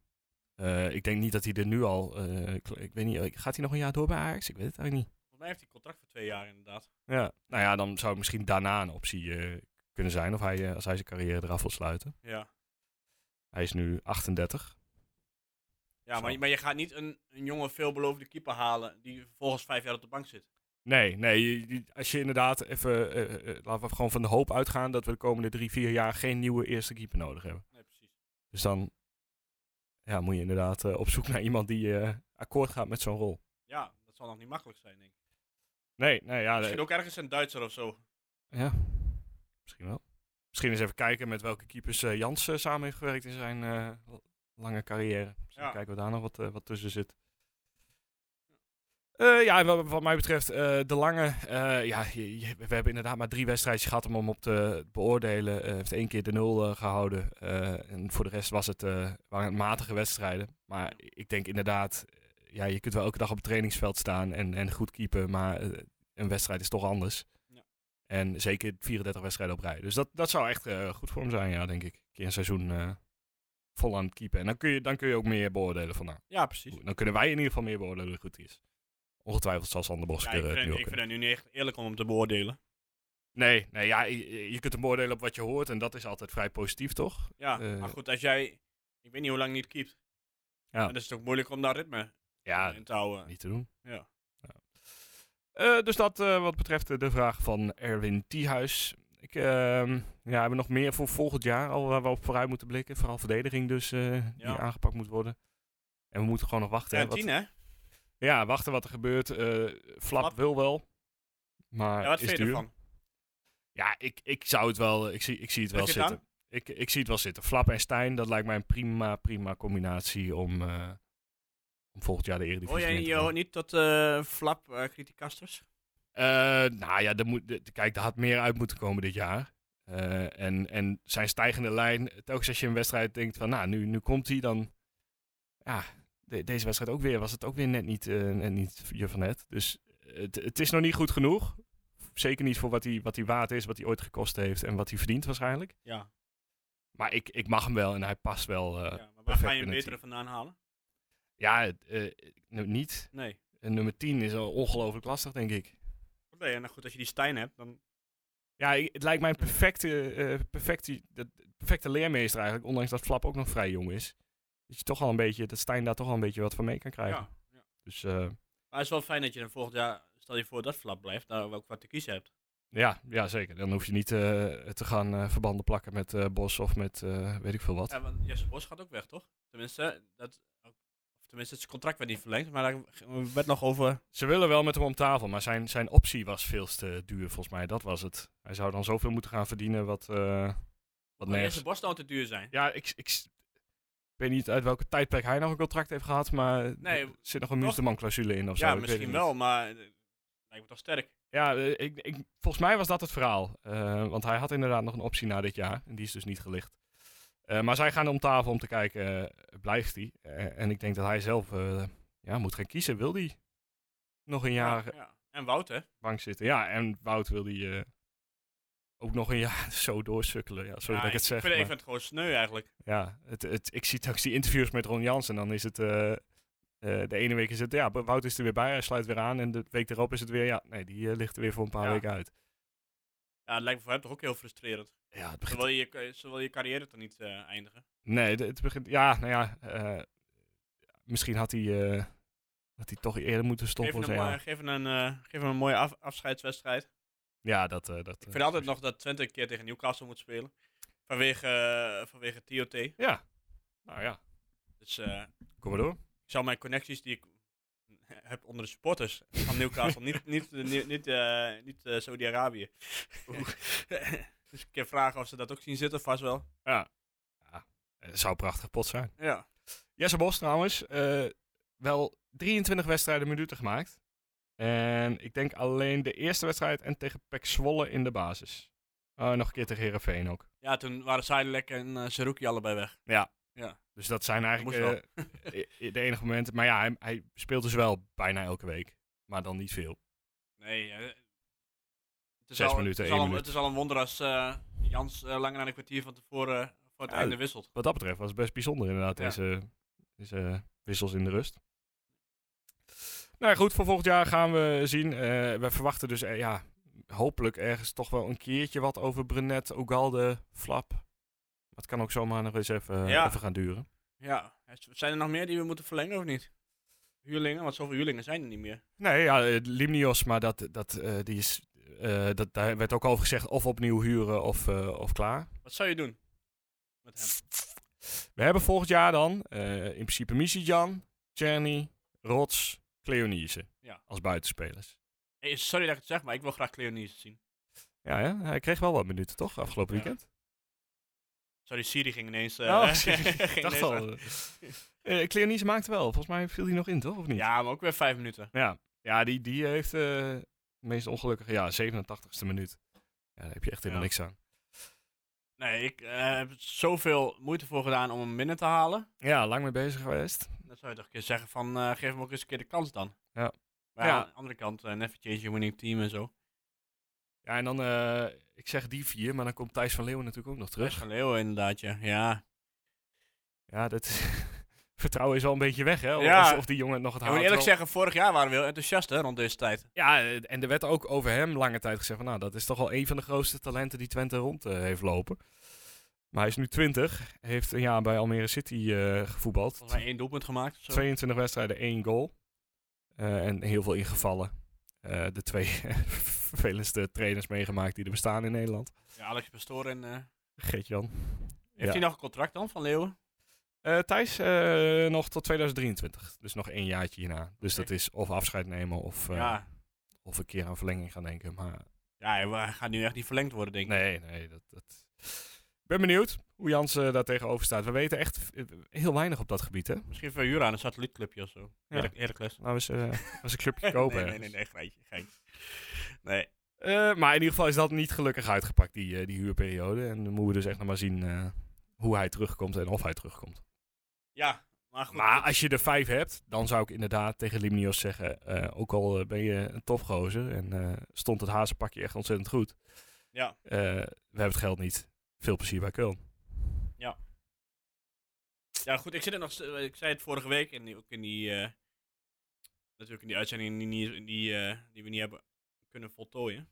Eh, ik denk niet dat hij er nu al... eh, kl- ik weet niet, eh, gaat hij nog een jaar door bij Ajax? Ik weet het eigenlijk niet.
Volgens mij heeft hij contract voor twee jaar inderdaad.
Ja. Nou ja, dan zou het misschien daarna een optie eh, kunnen zijn. Of hij, eh, als hij zijn carrière eraf wil sluiten.
Ja,
Hij is nu 38.
ja maar,
Zo.
je- maar je gaat niet een, een jonge veelbelovende keeper halen die vervolgens vijf jaar op de bank zit.
Nee, nee. je- je- Als je inderdaad even... eh, eh, laten we gewoon van de hoop uitgaan dat we de komende drie, vier jaar geen nieuwe eerste keeper nodig hebben.
Nee, precies.
Dus dan ja, moet je inderdaad eh, op zoek naar iemand die eh, akkoord gaat met zo'n rol.
Ja, dat zal nog niet makkelijk zijn denk ik.
Nee, nee, ja.
Misschien
nee.
ook ergens een Duitser of zo.
ja. Misschien wel. Misschien eens even kijken met welke keepers eh, Jans eh, samen heeft gewerkt in zijn eh, l- lange carrière. Misschien
Ja.
kijken we daar nog wat, eh, wat tussen zit. Eh, ja, en wat, wat mij betreft, eh, de lange. eh, ja, je- je- we hebben inderdaad maar drie wedstrijdjes gehad om hem op te beoordelen. Eh, Hij heeft één keer de nul eh, gehouden. Eh, en voor de rest was het, eh, waren het matige wedstrijden. Maar ik denk inderdaad, eh, ja, je kunt wel elke dag op het trainingsveld staan en, en goed keepen. Maar eh, een wedstrijd is toch anders.
Ja.
En zeker 34 wedstrijden op rij. Dus dat, dat zou echt eh, goed voor hem zijn, ja, denk ik. Een keer een seizoen eh, vol aan het keepen. En dan kun je, dan kun je ook meer beoordelen van nou,
Ja, precies.
dan kunnen wij in ieder geval meer beoordelen hoe goed hij is. Ongetwijfeld zal Sander Bosker
Ja, ik
eh, het
vind,
nu ook
ik vind
kunnen.
het nu niet echt eerlijk om hem te beoordelen.
Nee, nee ja, je, je kunt hem beoordelen op wat je hoort. En dat is altijd vrij positief, toch?
Ja,
Eh,
maar goed, als jij, ik weet niet hoe lang niet keept.
Ja.
Dan is het ook moeilijk om daar ritme
Ja,
in te houden.
niet te doen.
Ja.
Ja. Eh, dus dat eh, wat betreft eh, de vraag van Erwin Thiehuis. Ik, ehm, ja, hebben we nog meer voor volgend jaar al waar we op vooruit moeten blikken. Vooral verdediging dus, eh, die
Ja.
aangepakt moet worden. En we moeten gewoon nog wachten.
Ja,
hè, eh, wat-
tien, hè?
ja, wachten wat er gebeurt. Eh, Flap,
Flap.
wil wel. Maar
Ja, wat
is
vind je
duur.
ervan?
Ja, ik, ik zou het wel. Ik zie, ik zie het wel
Trek je het
zitten. Ik, ik zie het wel zitten. Flap en Stijn, dat lijkt mij een prima, prima combinatie om, eh, om volgend jaar de Eredivisie
Hoor jij
in te
Oh, je
gaan.
hoort niet tot eh, flap eh criticasters?
Eh, nou ja, er moet, er- kijk, er had meer uit moeten komen dit jaar. Eh, en, en zijn stijgende lijn, telkens als je een wedstrijd denkt van, nou, nu, nu komt hij, dan... Ja, de- deze wedstrijd ook weer, was het ook weer net niet, eh, net niet je van het. Dus het, het is nog niet goed genoeg. Zeker niet voor wat hij, wat hij waard is, wat hij ooit gekost heeft en wat hij verdient waarschijnlijk.
Ja.
Maar ik, ik mag hem wel en hij past wel. eh,
ja maar waar ga je
binnen
een
het
betere
team.
vandaan halen?
ja, het, eh, nu- niet.
Nee.
En nummer 10 is al ongelooflijk lastig, denk ik.
Nee, en nou goed, als je die Stijn hebt, dan...
Ja, ik- het lijkt mij een perfecte, eh, perfecte, de- de perfecte leermeester eigenlijk. Ondanks dat Flap ook nog vrij jong is. Dat, je toch al een beetje, dat Stijn daar toch al een beetje wat van mee kan krijgen.
Ja. ja.
Dus eh,
Maar het is wel fijn dat je dan volgend jaar, stel je voor dat flap blijft, daar ook wat te kiezen hebt.
ja, ja, zeker. Dan hoef je niet eh, te gaan eh, verbanden plakken met eh, Bos of met eh, weet ik veel wat.
Ja, want Jesse Bos gaat ook weg, toch? Tenminste, dat, of tenminste het contract werd niet verlengd, maar daar werd nog over...
Ze willen wel met hem om tafel, maar zijn, zijn optie was veel te duur volgens mij. Dat was het. Hij zou dan zoveel moeten gaan verdienen wat, eh wat
Maar
nergens
Jesse Bos zou te duur zijn.
Ja, ik, ik, s- ik weet niet uit welke tijdperk hij nog een contract heeft gehad, maar
Nee,
er zit nog een Munsterman-clausule in of zo.
ja,
ik weet het
misschien
niet.
wel, maar eh, lijkt me toch sterk.
Ja, eh, ik, ik, volgens mij was dat het verhaal. Eh, want hij had inderdaad nog een optie na dit jaar. En die is dus niet gelicht. Eh, maar zij gaan om tafel om te kijken, eh, blijft hij? Eh, en ik denk dat hij zelf eh, ja, moet gaan kiezen. Wil hij nog een jaar
Ja, ja. En Wouter,
bank zitten? Ja, en Wout wil hij eh, ook nog een jaar zo doorsukkelen. Ja, sorry
Ja,
dat ik het zeg.
vind, ik
maar-
vind het gewoon sneu eigenlijk.
ja, het, het, ik zie telkens die interviews met Ron Jans en dan is het... eh, eh, de ene week is het, ja, Wout is er weer bij, hij sluit weer aan. En de week daarop is het weer, ja, nee, die eh, ligt er weer voor een paar
Ja.
weken uit.
Ja, het lijkt me voor hem toch ook heel frustrerend.
Ja, het
Ze wil je, ze wil je carrière toch niet eh, eindigen?
Nee, de- het begint. Ja, nou ja. eh, misschien had hij, eh, had hij toch eerder moeten
Geef
stoppen.
hem,
of zo,
een,
ja.
mooi- geef hem een, eh, geef hem een mooie af- afscheidswedstrijd.
ja, dat. eh, dat
Ik vind altijd nog dat Twente een keer tegen Newcastle moet spelen. Vanwege, eh, vanwege TOT.
Ja. Nou ja,
Dus eh,
kom maar door.
ik zou mijn connecties die ik heb onder de supporters van Newcastle, niet, niet, niet, niet, eh, niet eh, Saudi-Arabië. dus ik kan vragen of ze dat ook zien zitten, vast wel.
Eh, zou een prachtig pot zijn.
Ja.
Jesse Bos trouwens. eh, wel 23 wedstrijden minuten gemaakt. En ik denk alleen de eerste wedstrijd en tegen Pek Zwolle in de basis. Oh, nog een keer tegen Herenveen ook.
ja, toen waren Seidelijk en eh, Seruki allebei weg.
Dus dat zijn eigenlijk
moest
eh, i- de enige momenten. Maar ja, hij, hij speelt dus wel bijna elke week. Maar dan niet veel.
Nee, eh, het is
Zes
al,
minuten,
het is
één
al,
minuut.
Het is al een wonder als eh, Jans eh, langer dan een kwartier van tevoren eh, voor het
Ja,
einde wisselt.
wat dat betreft was het best bijzonder inderdaad,
Ja.
deze, deze wissels in de rust. Nou ja, goed, voor volgend jaar gaan we zien. Eh, we verwachten dus eh, ja, hopelijk ergens toch wel een keertje wat over Brunet, Ogalde, Flap. Maar het kan ook zomaar nog eens even,
Ja.
even gaan duren.
Ja, zijn er nog meer die we moeten verlengen of niet? Huurlingen, want zoveel huurlingen zijn er niet meer.
Nee, ja, eh, Limnios, maar dat, dat, eh, die is, eh, dat, daar werd ook over gezegd of opnieuw huren of, eh, of klaar.
Wat zou je doen met hem?
We hebben volgend jaar dan eh, in principe Misijan, Czerny, Rots, Cleonise
Ja.
als buitenspelers.
Hey, sorry dat ik het zeg, maar ik wil graag Cleonise zien.
Ja, ja, hij kreeg wel wat minuten toch afgelopen
Ja.
weekend?
Sorry, Siri ging ineens... eh,
Oh,
ging
Ik dacht
ineens aan.
al. Eh Cleonise maakte wel, volgens mij viel hij nog in toch? Of niet?
Ja, maar ook weer vijf minuten.
ja. Ja, die, die heeft eh, de meest ongelukkige, ja, 87ste minuut. Ja, daar heb je echt helemaal
Ja.
niks aan.
Nee, ik eh, heb er zoveel moeite voor gedaan om hem binnen te halen.
Ja, lang mee bezig geweest.
Dan zou je toch een keer zeggen van, eh, geef hem ook eens een keer de kans dan.
Ja.
Maar
Ja. Dus?
aan de andere kant, eh, never change your winning team en zo.
Ja, en dan, eh, ik zeg die vier, maar dan komt Thijs van Leeuwen natuurlijk ook nog terug.
Van Leeuwen inderdaad, ja. ja.
Ja, dat vertrouwen is wel een beetje weg, hè? Of,
Ja.
of die jongen het nog het
Ik moet
haalt.
eerlijk
wel.
zeggen, vorig jaar waren we heel enthousiast hè, rond deze tijd.
Ja, eh, en er werd ook over hem lange tijd gezegd van, nou, dat is toch wel een van de grootste talenten die Twente rond eh, heeft lopen. Maar hij is nu 20, heeft een jaar bij Almere City eh, gevoetbald.
Volgens mij één doelpunt gemaakt of zo.
22 wedstrijden, één goal. Eh, en heel veel ingevallen. Eh, de twee vervelendste trainers meegemaakt die er bestaan in Nederland.
Ja, Alex Pastoor en... eh,
Geert-Jan.
Heeft
Ja.
hij nog een contract dan van Leeuwen?
Eh, Thijs, eh, nog tot 2023. Dus nog één jaartje hierna. Dus dat is of afscheid nemen of, eh,
Ja.
of een keer aan verlenging gaan denken. Maar
ja, hij gaat nu echt niet verlengd worden, denk ik.
nee, nee. Dat, dat... Ik ben benieuwd hoe Jans eh, daar tegenover staat. We weten echt eh, heel weinig op dat gebied, hè?
Misschien verhuren aan een satellietclubje of zo.
Ja.
Heracles. Heracles.
Laten we eens, eh, laten we eens een clubje kopen.
Nee, nee, nee, nee, geintje, geintje. Nee.
Eh, maar in ieder geval is dat niet gelukkig uitgepakt, die, eh, die huurperiode. En dan moeten we dus echt nog maar zien eh, hoe hij terugkomt en of hij terugkomt.
Ja, maar goed.
Maar als je er vijf hebt, dan zou ik inderdaad tegen Limnios zeggen... eh, ook al eh, ben je een topgozer en eh, stond het hazenpakje echt ontzettend goed...
Ja,
eh, we hebben het geld niet. Veel plezier bij Köln.
ja, goed, ik zit er nog... st- Ik zei het vorige week, en ook in die... eh, natuurlijk in die uitzending die, niet- die, eh, die we niet hebben kunnen voltooien.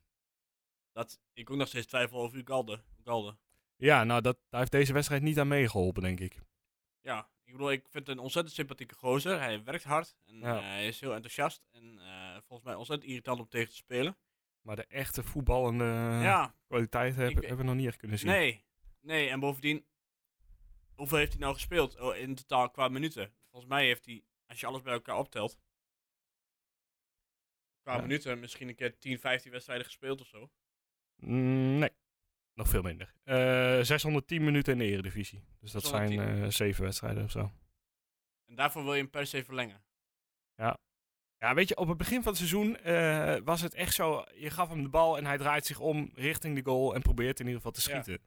Dat ik ook nog steeds twijfel over Ugalde. Ugalde.
Ja, nou, dat, daar heeft deze wedstrijd niet aan meegeholpen, denk ik.
Ja, ik bedoel, ik vind het een ontzettend sympathieke gozer. Hij werkt hard en
Ja.
eh, hij is heel enthousiast. En eh, volgens mij ontzettend irritant om tegen te spelen.
Maar de echte voetballende
ja,
kwaliteit heb-
Ik-
hebben we nog niet echt kunnen zien.
Nee, nee, en bovendien, hoeveel heeft hij nou gespeeld oh, in totaal qua minuten? Volgens mij heeft hij, als je alles bij elkaar optelt, qua
Ja.
minuten misschien een keer 10, 15 wedstrijden gespeeld of zo.
Mm, nee. Nog veel minder. Eh, 610 minuten in de Eredivisie. Dus dat zijn
610.
eh, zeven wedstrijden of zo.
En daarvoor wil je hem per se verlengen.
Ja, weet je, op het begin van het seizoen eh, was het echt zo. Je gaf hem de bal en hij draait zich om richting de goal en probeert in ieder geval te
Ja.
schieten.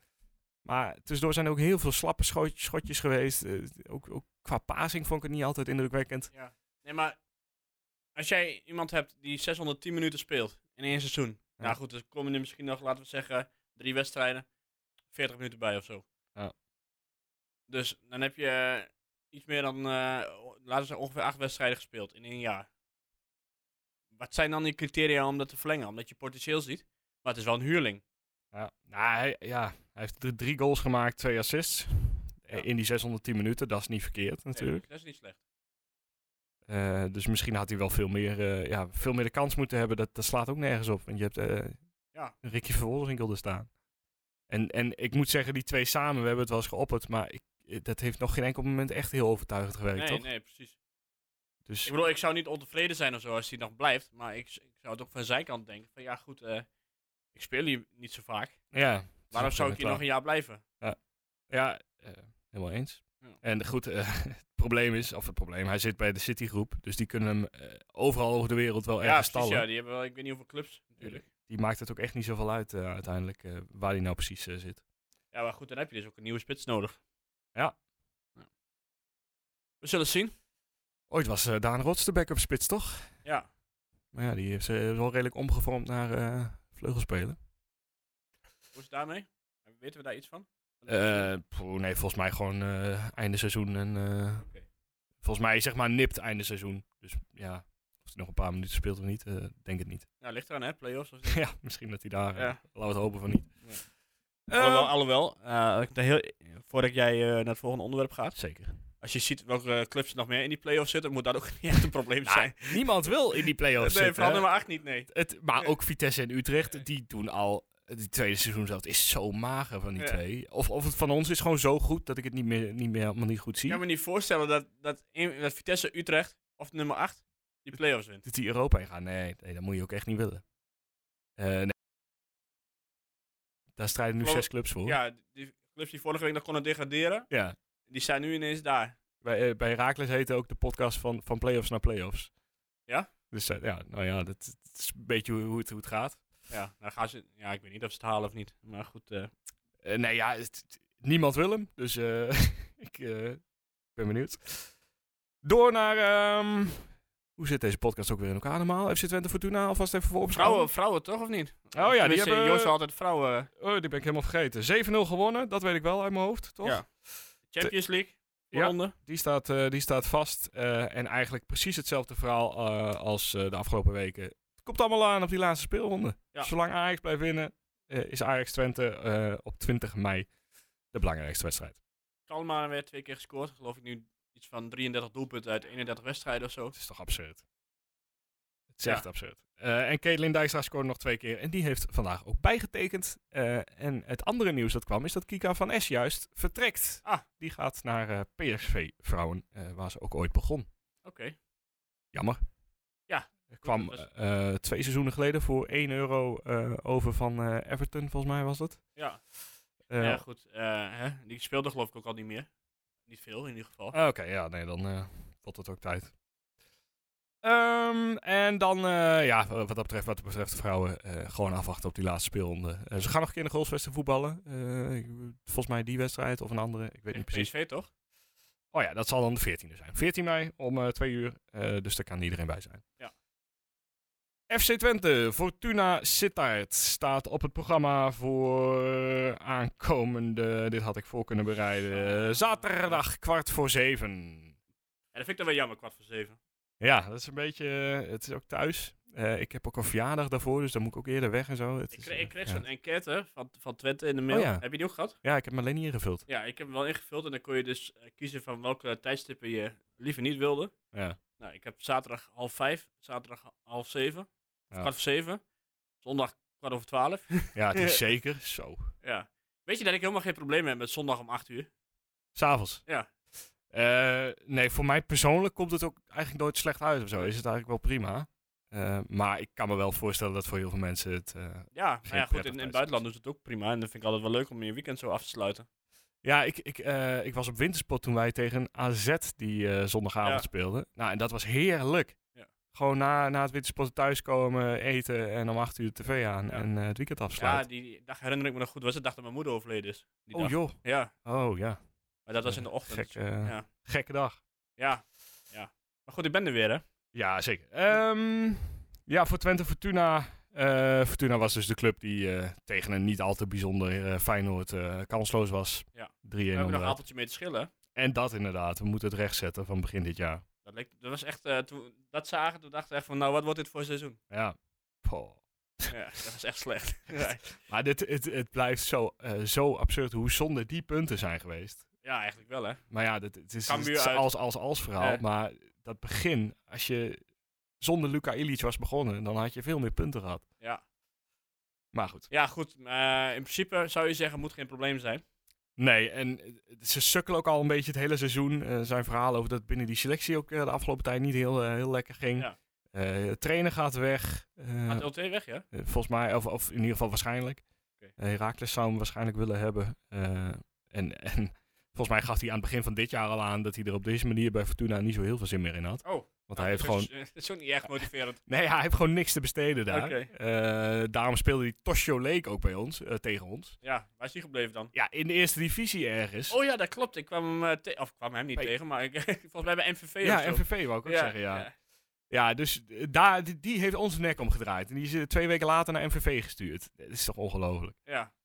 Maar tussendoor zijn er ook heel veel slappe scho- schotjes geweest. Eh, ook, ook qua passing vond ik het niet altijd indrukwekkend.
Nee, maar als jij iemand hebt die 610 minuten speelt in één seizoen,
Ja.
nou goed, dan komen er misschien nog, laten we zeggen, drie wedstrijden, 40 minuten bij of zo.
Ja.
Dus dan heb je eh, iets meer dan, eh, o- laten we zeggen, ongeveer acht wedstrijden gespeeld in één jaar. Wat zijn dan die criteria om dat te verlengen? Omdat je potentieel ziet, maar het is wel een huurling.
Ja, nou, hij, ja, hij heeft drie- drie goals gemaakt, twee assists. Eh, In die 610 minuten, dat is niet verkeerd natuurlijk.
dat is niet slecht.
Eh, dus misschien had hij wel veel meer, eh, ja, veel meer de kans moeten hebben. Dat, dat slaat ook nergens op. Want je hebt eh
Ja.
Ricky Verwolderswinkel er staan. En, en ik moet zeggen, die twee samen, we hebben het wel eens geopperd. Maar ik, eh, dat heeft nog geen enkel moment echt heel overtuigend gewerkt,
Nee,
toch?
nee, precies.
Dus
Ik bedoel, ik zou niet ontevreden zijn of zo als hij nog blijft. Maar ik, ik zou het ook van zijn kant denken. Van ja, goed, eh, ik speel hier niet zo vaak.
ja.
Waarom zou ik hier nog een jaar blijven?
Ja, eh, helemaal eens.
Ja.
En goed, eh, het probleem is, of het probleem, hij zit bij de Citigroep. Dus die kunnen hem eh, overal over de wereld wel
ja,
ergens
precies.
stallen.
Ja, die hebben wel, ik weet niet hoeveel clubs natuurlijk.
Die maakt het ook echt niet zoveel uit eh, uiteindelijk eh, waar hij nou precies eh, zit.
Ja, maar goed, dan heb je dus ook een nieuwe spits nodig.
Ja.
Ja. We zullen zien.
Ooit was eh, Daan Rots de backup spits, toch?
Ja.
Maar ja, die heeft ze wel redelijk omgevormd naar eh vleugelspeler.
Hoe is het daarmee? Weten we daar iets van?
Eh, poeh, nee, volgens mij gewoon eh, einde seizoen. En, eh,
Oké.
Volgens mij zeg maar nipt einde seizoen. Dus ja, of hij nog een paar minuten speelt of niet, eh, denk het niet.
Nou, ligt eraan, hè? Playoffs. Of
ja, misschien dat hij daar, eh,
Ja.
laten we het hopen van niet.
Ja.
Eh,
alhoewel, alhoewel eh, ik daar heel, voordat jij eh, naar het volgende onderwerp gaat.
Zeker.
Als je ziet welke eh, clubs er nog meer in die play-offs zitten, moet dat ook niet echt een probleem zijn.
Nou, Niemand wil in die play-offs
Nee,
zitten,
vooral
hè?
nummer 8 niet, nee.
Het, maar ook Vitesse en Utrecht, die doen al. Die tweede seizoen zelf is zo mager van die
Ja.
twee. Of, of het van ons is gewoon zo goed dat ik het niet meer, niet meer helemaal niet goed
Ik
zie.
kan me niet voorstellen dat, dat, een- dat Vitesse Utrecht of nummer 8 die play-offs wint.
Dat die Europa in gaan. Nee, nee, dat moet je ook echt niet willen. Eh, nee. Daar strijden nu
Geloof-
zes clubs voor.
Ja, die clubs die vorige week nog konden degraderen,
Ja.
die zijn nu ineens daar.
Bij, eh, bij Herakles heette ook de podcast van, van play-offs naar play-offs.
Ja?
Dus eh, ja, nou ja, dat, dat is een beetje hoe, hoe het, hoe het gaat.
Ja, nou gaan ze, ja, ik weet niet of ze het halen of niet. Maar goed, eh,
Eh, nee, ja, het- het- niemand wil hem. Dus eh, ik eh, ben benieuwd. Door naar... ehm, hoe zit deze podcast ook weer in elkaar normaal? FC Twente Fortuna alvast even voor
vrouwen, vrouwen toch of niet?
Oh ja, die
Tenminste,
hebben...
Joost wil altijd vrouwen. eh,
Oh, die ben ik helemaal vergeten. 7-0 gewonnen, dat weet ik wel uit mijn hoofd, toch?
Ja. Champions League,
Ja.
voorronde.
Die, staat, eh, die staat vast. eh, en eigenlijk precies hetzelfde verhaal eh, als eh, de afgelopen weken. Het komt allemaal aan op die laatste speelronde.
Ja.
Zolang Ajax blijft winnen, eh, is Ajax Twente eh, op 20 mei de belangrijkste wedstrijd.
Kalmar werd twee keer gescoord. Geloof ik nu iets van 33 doelpunten uit 31 wedstrijden of zo.
Het is toch absurd. Het is echt absurd. Eh, en Caitlin Dijkstra scoorde nog twee keer. En die heeft vandaag ook bijgetekend. Eh, en het andere nieuws dat kwam is dat Kika van Es juist vertrekt.
Ah.
Die gaat naar eh, PSV Vrouwen, eh, waar ze ook ooit begon.
Oké.
Jammer.
Ja.
Er kwam
dat is-
eh, eh, twee seizoenen geleden voor 1 euro eh, over van eh, Everton, volgens mij was het.
Ja.
Eh,
Ja, goed. eh, hè? Die speelde geloof ik ook al niet meer. Niet veel in ieder geval.
Oh, Ah, Oké, ja, nee, dan eh wordt het ook tijd. Ehm, en dan, eh, ja, wat dat betreft, wat dat betreft de vrouwen, eh, gewoon afwachten op die laatste speelronde. Eh, ze gaan nog een keer in de goalswesten voetballen. Eh, ik- volgens mij die wedstrijd of een andere, ik weet
Tegen
niet precies.
PSV toch?
Oh ja, dat zal dan de 14e zijn. 14 mei om eh 2 uur, eh, dus daar kan iedereen bij zijn.
Ja.
FC Twente, Fortuna Sittard staat op het programma voor aankomende, dit had ik voor kunnen bereiden, eh, zaterdag kwart voor zeven.
Ja, dat vind ik dan wel jammer, kwart voor zeven.
Ja, dat is een beetje. eh, het is ook thuis. Eh, ik heb ook een verjaardag daarvoor, dus dan moet ik ook eerder weg en zo. Het
Ik
is,
kreeg,
eh,
ik kreeg
ja.
zo'n enquête van, van Twente in de mail.
Oh ja.
Heb je die ook gehad?
Ja, ik heb hem alleen niet ingevuld.
Ja, ik heb hem wel ingevuld en dan kon je dus eh, kiezen van welke tijdstippen je liever niet wilde.
Ja.
Nou, ik heb zaterdag half vijf, zaterdag half zeven, of
Ja.
kwart voor zeven, zondag kwart over twaalf.
ja, het is zeker zo.
ja. Weet je dat ik helemaal geen probleem heb met zondag om acht uur?
S'avonds.
Ja.
Eh, nee, voor mij persoonlijk komt het ook eigenlijk nooit slecht uit of zo. Is het eigenlijk wel prima. Eh, maar ik kan me wel voorstellen dat voor heel veel mensen het. eh,
Ja, nou ja
prettig
goed, in, in het
tijdstip.
buitenland doen ze het ook prima en dat vind ik altijd wel leuk om je weekend zo af te sluiten.
Ja, ik, ik, eh, ik was op wintersport toen wij tegen AZ die eh, zondagavond
Ja.
speelden. Nou, en dat was heerlijk.
Ja.
Gewoon na, na het wintersport thuiskomen, eten en om acht uur de tv aan
Ja.
en eh, het weekend
Ja,
afsluiten.
die, die dag herinner ik me nog goed, was de dag dat mijn moeder overleden is. Die
oh
dag.
joh.
Ja,
Oh ja,
maar dat was in de ochtend.
gek, eh,
ja.
gekke dag.
ja, ja. Maar goed, ik ben er weer hè.
Ja, zeker. Ehm, ja, voor Twente Fortuna. eh, Fortuna was dus de club die eh, tegen een niet al te bijzonder eh, Feyenoord eh, kansloos was.
Ja.
3-1
We hebben nog een
onderuit.
appeltje mee te schillen.
En dat inderdaad, we moeten het recht zetten van begin dit jaar.
Dat, leek, dat was echt, eh, toen we dat zagen, toen dachten we echt van, nou, wat wordt dit voor seizoen?
Ja. Poh.
Ja, dat was echt slecht. ja,
Maar dit, het, het blijft zo, eh, zo absurd hoe zonde die punten zijn geweest.
ja, eigenlijk wel, hè.
Maar ja, dit, het is, het
Cambuur
is
uit.
als, als, als verhaal.
Ja.
Maar dat begin, als je zonder Luca Illich was begonnen, dan had je veel meer punten gehad.
Ja,
Maar goed.
ja goed. eh, in principe zou je zeggen, moet geen probleem zijn.
Nee, en eh, ze sukkelen ook al een beetje het hele seizoen. Er zijn verhalen over dat binnen die selectie ook eh, de afgelopen tijd niet heel, eh, heel lekker ging.
Ja.
Eh, trainer gaat weg. Eh,
Gaat LT weg, ja?
eh, volgens mij, of, of in ieder geval waarschijnlijk.
Oké.
Eh, Heracles zou hem waarschijnlijk willen hebben. Eh, en, en volgens mij gaf hij aan het begin van dit jaar al aan dat hij er op deze manier bij Fortuna niet zo heel veel zin meer in had.
Oh.
Want hij heeft gewoon
Dat is ook niet echt motiverend.
Nee, ja, hij heeft gewoon niks te besteden daar.
Oké.
Eh, daarom speelde die Tosho Lake ook bij ons, eh, tegen ons.
Ja, waar is hij gebleven dan?
Ja, in de eerste divisie ergens.
Oh ja, dat klopt. Ik kwam hem, eh, te- of ik kwam hem niet
Bij-
tegen, maar ik, volgens mij bij MVV of
ja,
zo.
MVV wou ik ook zeggen, ja. ja. dus eh, daar, die, die heeft ons nek omgedraaid. En die is eh, twee weken later naar MVV gestuurd. Dat is toch ongelooflijk.
ja.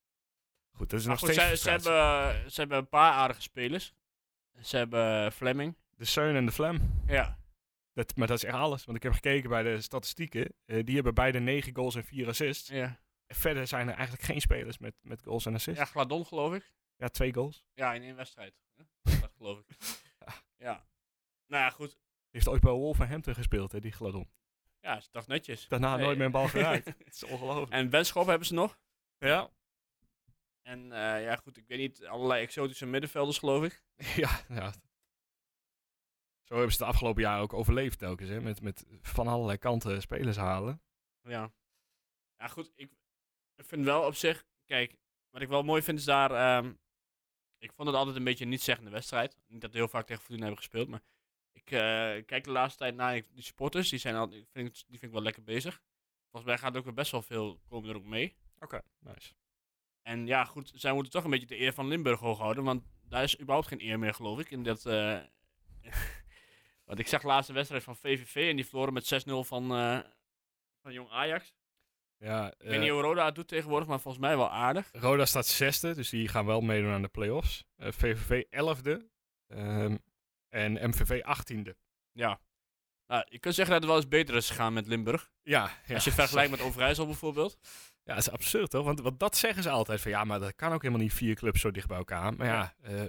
Goed, dat is
Maar
nog
goed,
steeds
ze, ze,
frustratie.
hebben, ze hebben een paar aardige spelers. Ze hebben eh, Fleming.
De Seun en de Flem.
Ja.
Dat, maar dat is echt alles. Want ik heb gekeken bij de statistieken. Eh, die hebben beide negen goals en vier assists.
Ja,
En verder zijn er eigenlijk geen spelers met, met goals en assists.
ja
Ja.
Gladon geloof ik.
twee goals.
Ja, in één wedstrijd. Hè? Dat geloof ik. Ja. Nou ja, goed.
Die heeft ooit bij Wolverhampton gespeeld, hè, die Gladon.
Ja, is toch netjes.
Daarna
Nee.
nooit meer een bal geraakt. Het is ongelooflijk.
en Benschop hebben ze nog.
Ja.
En eh, ja, goed, ik weet niet, allerlei exotische middenvelders geloof ik.
Ja, ja. Zo hebben ze het afgelopen jaar ook overleefd telkens, hè? Met, met van allerlei kanten spelers halen.
Ja. Ja, goed, ik vind wel op zich, kijk, wat ik wel mooi vind is daar, ehm, ik vond het altijd een beetje een niet-zeggende wedstrijd. Niet dat we heel vaak tegen Fortuna hebben gespeeld, maar ik eh, kijk de laatste tijd naar die supporters, die zijn al, die vind, ik- die vind ik wel lekker bezig. Volgens mij gaat er ook wel best wel veel, komen er ook mee.
Oké, nice.
En ja, goed, zij moeten toch een beetje de eer van Limburg hoog houden. Want daar is überhaupt geen eer meer, geloof ik. In dat, eh, want ik zag de laatste wedstrijd van VVV en die verloren met 6-0 van, eh, van jong Ajax.
Ja,
ik weet niet hoe Roda het doet tegenwoordig, maar volgens mij wel aardig.
eh, Roda staat zesde, dus die gaan wel meedoen aan de play-offs. Eh, VVV elfde ehm, en MVV achttiende.
Ja. Nou, je kunt zeggen dat het wel eens beter is gegaan met Limburg.
Ja, ja.
Als je vergelijkt met Overijssel bijvoorbeeld.
Ja, dat is absurd toch? Want, want dat zeggen ze altijd van ja, maar dat kan ook helemaal niet vier clubs zo dicht bij elkaar. Maar ja, eh,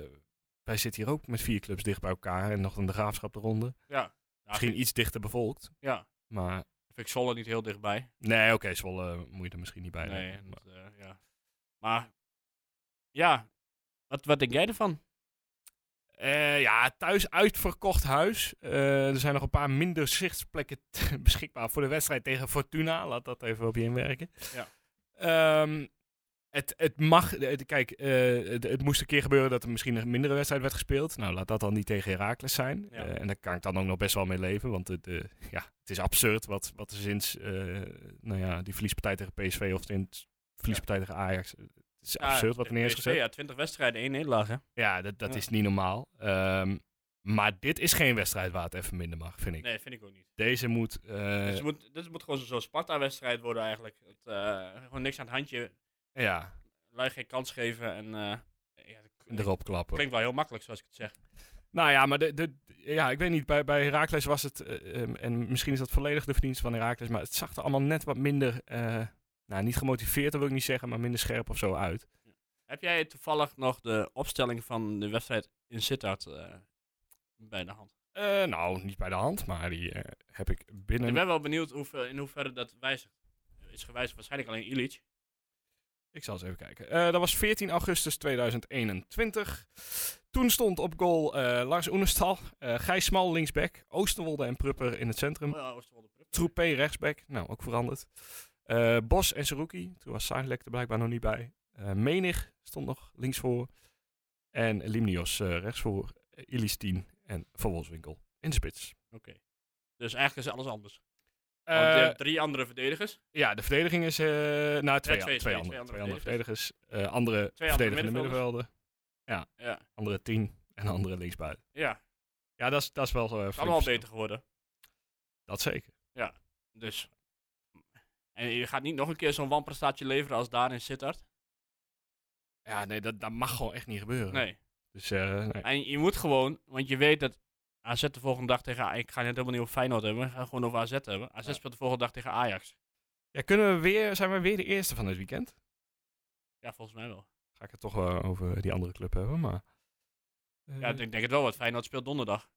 wij zitten hier ook met vier clubs dicht bij elkaar en nog een de graafschap eronder.
Ja. Nou,
Misschien iets dichter bevolkt,
Ja.
maar
Vind ik Zwolle niet heel dichtbij.
Nee, oké, Zwolle eh, moet je er misschien niet bij
Nee,
rekenen, maar-
dat, eh, ja. Maar, ja, wat, wat denk jij ervan?
Eh, ja, thuis uitverkocht huis. Eh, er zijn nog een paar minder zichtsplekken t- beschikbaar voor de wedstrijd tegen Fortuna. Laat dat even op je inwerken.
Ja.
Ehm, het, het mag, het- kijk, eh, het, het moest een keer gebeuren dat er misschien een mindere wedstrijd werd gespeeld. Nou, laat dat dan niet tegen Heracles zijn.
Ja.
Eh, en daar kan ik dan ook nog best wel mee leven. Want het, eh, ja, het is absurd wat, wat er sinds eh, nou ja, die verliespartij tegen PSV of sinds verliespartij tegen Ajax. eh, Het is absurd wat er neer is
PSV,
gezet.
Ja, 20 wedstrijden, één nederlaag, hè?
Ja, dat, dat
Ja.
is niet normaal. Ehm, maar dit is geen wedstrijd waar het even minder mag, vind ik.
Nee, vind ik ook niet.
Deze moet... eh,
Dus het moet, dit moet gewoon zo- zo'n Sparta-wedstrijd worden eigenlijk. Het, eh, gewoon niks aan het handje,
ja,
lui geen kans geven en... eh, ja, dat klinkt-
erop klappen.
Klinkt wel heel makkelijk, zoals ik het zeg.
Nou ja, maar de, de, ja, ik weet niet. Bij, bij Herakles was het... eh, ehm, en misschien is dat volledig de verdienste van Herakles. Maar het zag er allemaal net wat minder... eh, nou, niet gemotiveerd, dat wil ik niet zeggen. Maar minder scherp of zo uit.
Heb jij toevallig nog de opstelling van de wedstrijd in Sittard eh, bij de hand?
Eh, nou, niet bij de hand. Maar die eh, heb ik binnen...
Ik ben wel benieuwd hoeveel- in hoeverre dat wijzigt. Is gewijzigd waarschijnlijk alleen Illich.
Ik zal eens even kijken. Eh, dat was 14 augustus 2021. Toen stond op goal eh, Lars Oenestal, eh Gijs Smal linksback, Oosterwolde en Prupper in het centrum,
Oh ja, Oosterwolde Prupper.
Troepé rechtsback, nou ook veranderd. Eh, Bos en Saruki, toen was Saarlek er blijkbaar nog niet bij. Eh, Menig stond nog linksvoor en Limnios eh, rechtsvoor, Eh, Ilis 10 en Van Wolfswinkel in de spits.
Dus eigenlijk is alles anders. Want je
Eh,
hebt drie andere verdedigers.
Ja, de verdediging is. eh nou, twee,
twee-
twee,
twee- twee
andere, twee
andere
andere verdedigers. Eh, andere
Twee andere
verdedigende middenvelden. Ja.
Ja.
Andere tien en andere linksbuiten.
Ja, het
Ja, dat is, dat is wel. eh,
is
flink
allemaal
verschil.
beter geworden.
Dat zeker.
Dus. En je gaat niet nog een keer zo'n wanprestatie leveren als daar in Sittard.
Ja, nee, dat, dat mag gewoon echt niet gebeuren.
Nee.
Dus, eh, nee.
En je moet gewoon, want je weet dat AZ de volgende dag tegen Ik ga net helemaal niet over Feyenoord hebben, we gaan gewoon over AZ hebben. AZ
Ja.
speelt de volgende dag tegen Ajax.
Ja, kunnen we weer, zijn we weer de eerste van dit weekend?
Ja, volgens mij wel.
Ga ik het toch wel over die andere club hebben, maar. eh,
Ja, ik denk, denk het wel, want Feyenoord speelt donderdag.